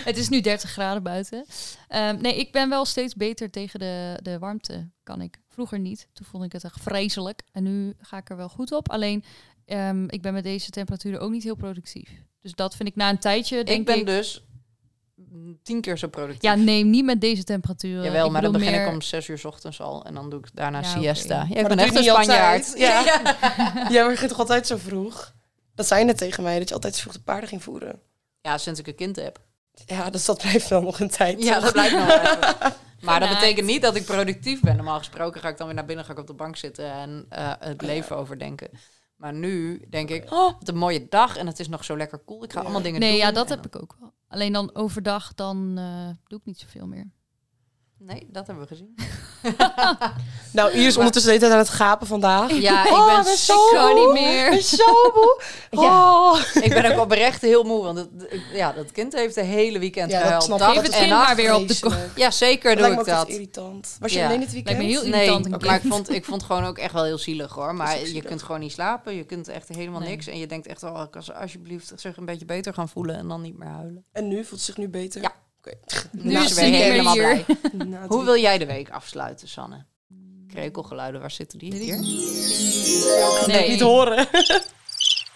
Speaker 2: Het is nu 30 graden buiten. Ehm, nee, ik ben wel steeds beter tegen de, de warmte, kan ik. Vroeger niet. Toen vond ik het echt vreselijk. En nu ga ik er wel goed op. Alleen, ehm, ik ben met deze temperaturen ook niet heel productief. Dus dat vind ik na een tijdje, (laughs) denk
Speaker 1: Ik
Speaker 2: ik...
Speaker 1: ben dus mm, tien keer zo productief.
Speaker 2: Ja, nee, niet met deze temperaturen.
Speaker 1: Jawel,
Speaker 2: Ik
Speaker 1: maar dan
Speaker 2: bedoel
Speaker 1: begin ik
Speaker 2: meer-
Speaker 1: om zes uur 's ochtends al. En dan doe ik daarna
Speaker 2: Ja, oké.
Speaker 1: siesta. Ja, ik
Speaker 3: Maar
Speaker 1: ben
Speaker 3: dat
Speaker 1: echt
Speaker 3: doe
Speaker 1: een
Speaker 3: je niet
Speaker 1: Spanjaard.
Speaker 3: altijd. Ja. Jij begint toch altijd zo vroeg? Dat zei net tegen mij. Dat je altijd zo vroeg de paarden ging voeren.
Speaker 1: Ja, sinds ik een kind heb.
Speaker 3: Ja, dus dat blijft wel nog een tijd.
Speaker 1: Ja,
Speaker 3: toch?
Speaker 1: dat blijkt nog wel
Speaker 3: (laughs)
Speaker 1: even. Maar dat
Speaker 2: Vanuit.
Speaker 1: betekent niet dat ik productief ben. Normaal gesproken ga ik dan weer naar binnen, ga ik op de bank zitten en eh, het
Speaker 3: Oh,
Speaker 1: leven overdenken. Maar nu denk ik, oh, wat een mooie dag en het is nog zo lekker cool. Ik ga
Speaker 3: Ja.
Speaker 1: allemaal dingen
Speaker 2: Nee,
Speaker 1: doen.
Speaker 2: ja, dat
Speaker 1: en
Speaker 2: heb ik ook wel. Alleen dan overdag, dan eh, doe ik niet zoveel meer.
Speaker 1: dan- Nee, dat hebben we
Speaker 2: (laughs)
Speaker 1: gezien.
Speaker 3: Nou, Iris is ondertussen de hele tijd aan het gapen vandaag. (laughs)
Speaker 1: (laughs) Ja, ik
Speaker 3: Oh,
Speaker 1: ben,
Speaker 3: ik ben
Speaker 1: zo...
Speaker 3: zo-
Speaker 2: Ik kan niet
Speaker 3: Ik ben
Speaker 2: meer. (laughs)
Speaker 3: zo moe. Oh.
Speaker 1: (laughs) ik ben ook oprecht heel moe, want het, ja, dat kind heeft de hele weekend
Speaker 3: Ja, dat
Speaker 1: gehuild.
Speaker 3: snap ik.
Speaker 1: Dag
Speaker 3: Geef
Speaker 2: het
Speaker 1: en
Speaker 2: kind
Speaker 1: nacht.
Speaker 2: maar weer op de kop.
Speaker 3: Vreselijk.
Speaker 1: Ja, zeker
Speaker 3: Dat
Speaker 1: doe
Speaker 3: lijkt
Speaker 1: ik
Speaker 3: me ook
Speaker 1: dat.
Speaker 3: echt irritant. Was je
Speaker 1: Ja.
Speaker 3: alleen dit weekend?
Speaker 2: Lijkt me heel
Speaker 1: Nee,
Speaker 2: irritant. een
Speaker 1: maar ik
Speaker 2: kind.
Speaker 1: vond, ik vond gewoon ook echt wel heel zielig hoor.
Speaker 3: Dat
Speaker 1: Maar
Speaker 3: is ook
Speaker 1: je
Speaker 3: zielig.
Speaker 1: kunt gewoon niet slapen. Je kunt echt helemaal
Speaker 2: Nee.
Speaker 1: niks. En je denkt echt, oh, ik kan ze alsjeblieft zich een beetje beter gaan voelen en dan niet meer huilen.
Speaker 3: En nu? Voelt ze zich nu beter?
Speaker 1: Ja.
Speaker 3: Oké.
Speaker 2: Nu
Speaker 1: Nou,
Speaker 2: is
Speaker 1: ze
Speaker 2: ze niet
Speaker 1: weer
Speaker 2: meer hier.
Speaker 1: blij.
Speaker 3: Na
Speaker 1: Hoe
Speaker 3: drie-
Speaker 1: wil jij de week afsluiten, Sanne? Krekelgeluiden, waar zitten die? Hier?
Speaker 2: Nee,
Speaker 3: Niet horen.
Speaker 1: (laughs)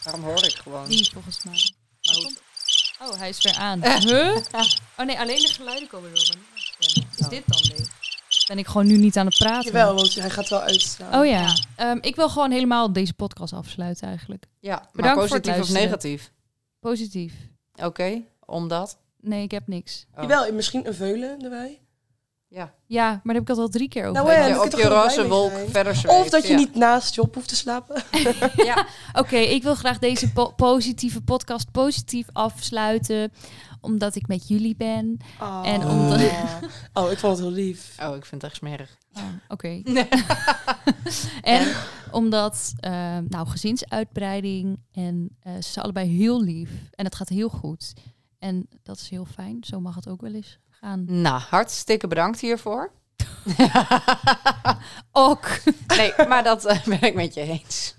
Speaker 1: Waarom hoor ik gewoon?
Speaker 2: niet volgens mij.
Speaker 1: Maar hoe-
Speaker 2: Oh, hij is weer aan. Huh? Oh nee, alleen de geluiden komen door. Is dit dan leeg? Ben ik gewoon nu niet aan het praten?
Speaker 3: Jawel, want hij gaat wel uitstaan.
Speaker 2: Oh ja. Ehm, ik wil gewoon helemaal deze podcast afsluiten eigenlijk.
Speaker 1: Ja, maar
Speaker 2: Bedankt voor het
Speaker 1: positief of
Speaker 2: luisteren.
Speaker 1: negatief?
Speaker 2: Positief.
Speaker 1: Oké, omdat?
Speaker 2: Nee, ik heb niks.
Speaker 1: Oh.
Speaker 3: Jawel, en misschien een veulen erbij.
Speaker 1: Ja.
Speaker 2: Ja, maar daar heb ik dat al drie keer over.
Speaker 3: Nou,
Speaker 1: Dat
Speaker 3: hè,
Speaker 2: gedaan.
Speaker 3: dan
Speaker 1: je
Speaker 3: kun je
Speaker 1: op
Speaker 3: toch
Speaker 1: je
Speaker 3: gewoon blij
Speaker 1: roze
Speaker 3: mee
Speaker 1: wolk
Speaker 3: zijn.
Speaker 1: verder zweeft.
Speaker 3: Of dat je
Speaker 1: ja.
Speaker 3: niet naast Job hoeft te slapen.
Speaker 1: Ja.
Speaker 2: Oké, ik wil graag deze po- positieve podcast positief afsluiten. Omdat ik met jullie ben.
Speaker 3: Ah.
Speaker 2: En om
Speaker 3: (laughs) Oh, ik vond het heel lief.
Speaker 1: Oh, ik vind het echt smerig.
Speaker 3: Eh.
Speaker 2: Oh, Oké.
Speaker 1: Nee.
Speaker 2: En omdat, eh, nou, gezinsuitbreiding en eh, ze zijn allebei heel lief en het gaat heel goed. En dat is heel fijn, zo mag het ook wel eens gaan.
Speaker 1: Nou, hartstikke bedankt hiervoor. (laughs)
Speaker 2: Ook, (laughs)
Speaker 1: nee, maar dat eh, ben ik met je eens.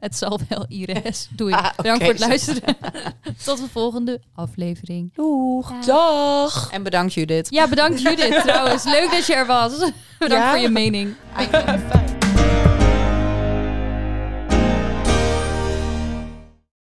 Speaker 2: het zal wel Ires. Doei.
Speaker 1: Ah, oké,
Speaker 2: Bedankt voor het
Speaker 1: zo.
Speaker 2: luisteren. (laughs) Tot de volgende aflevering.
Speaker 3: Doeg.
Speaker 2: Ja.
Speaker 3: Dag.
Speaker 1: En bedankt Judith. (laughs)
Speaker 2: Ja, bedankt Judith trouwens. Leuk dat je er was. Bedankt
Speaker 3: Ja?
Speaker 2: voor je mening.
Speaker 3: Fijn.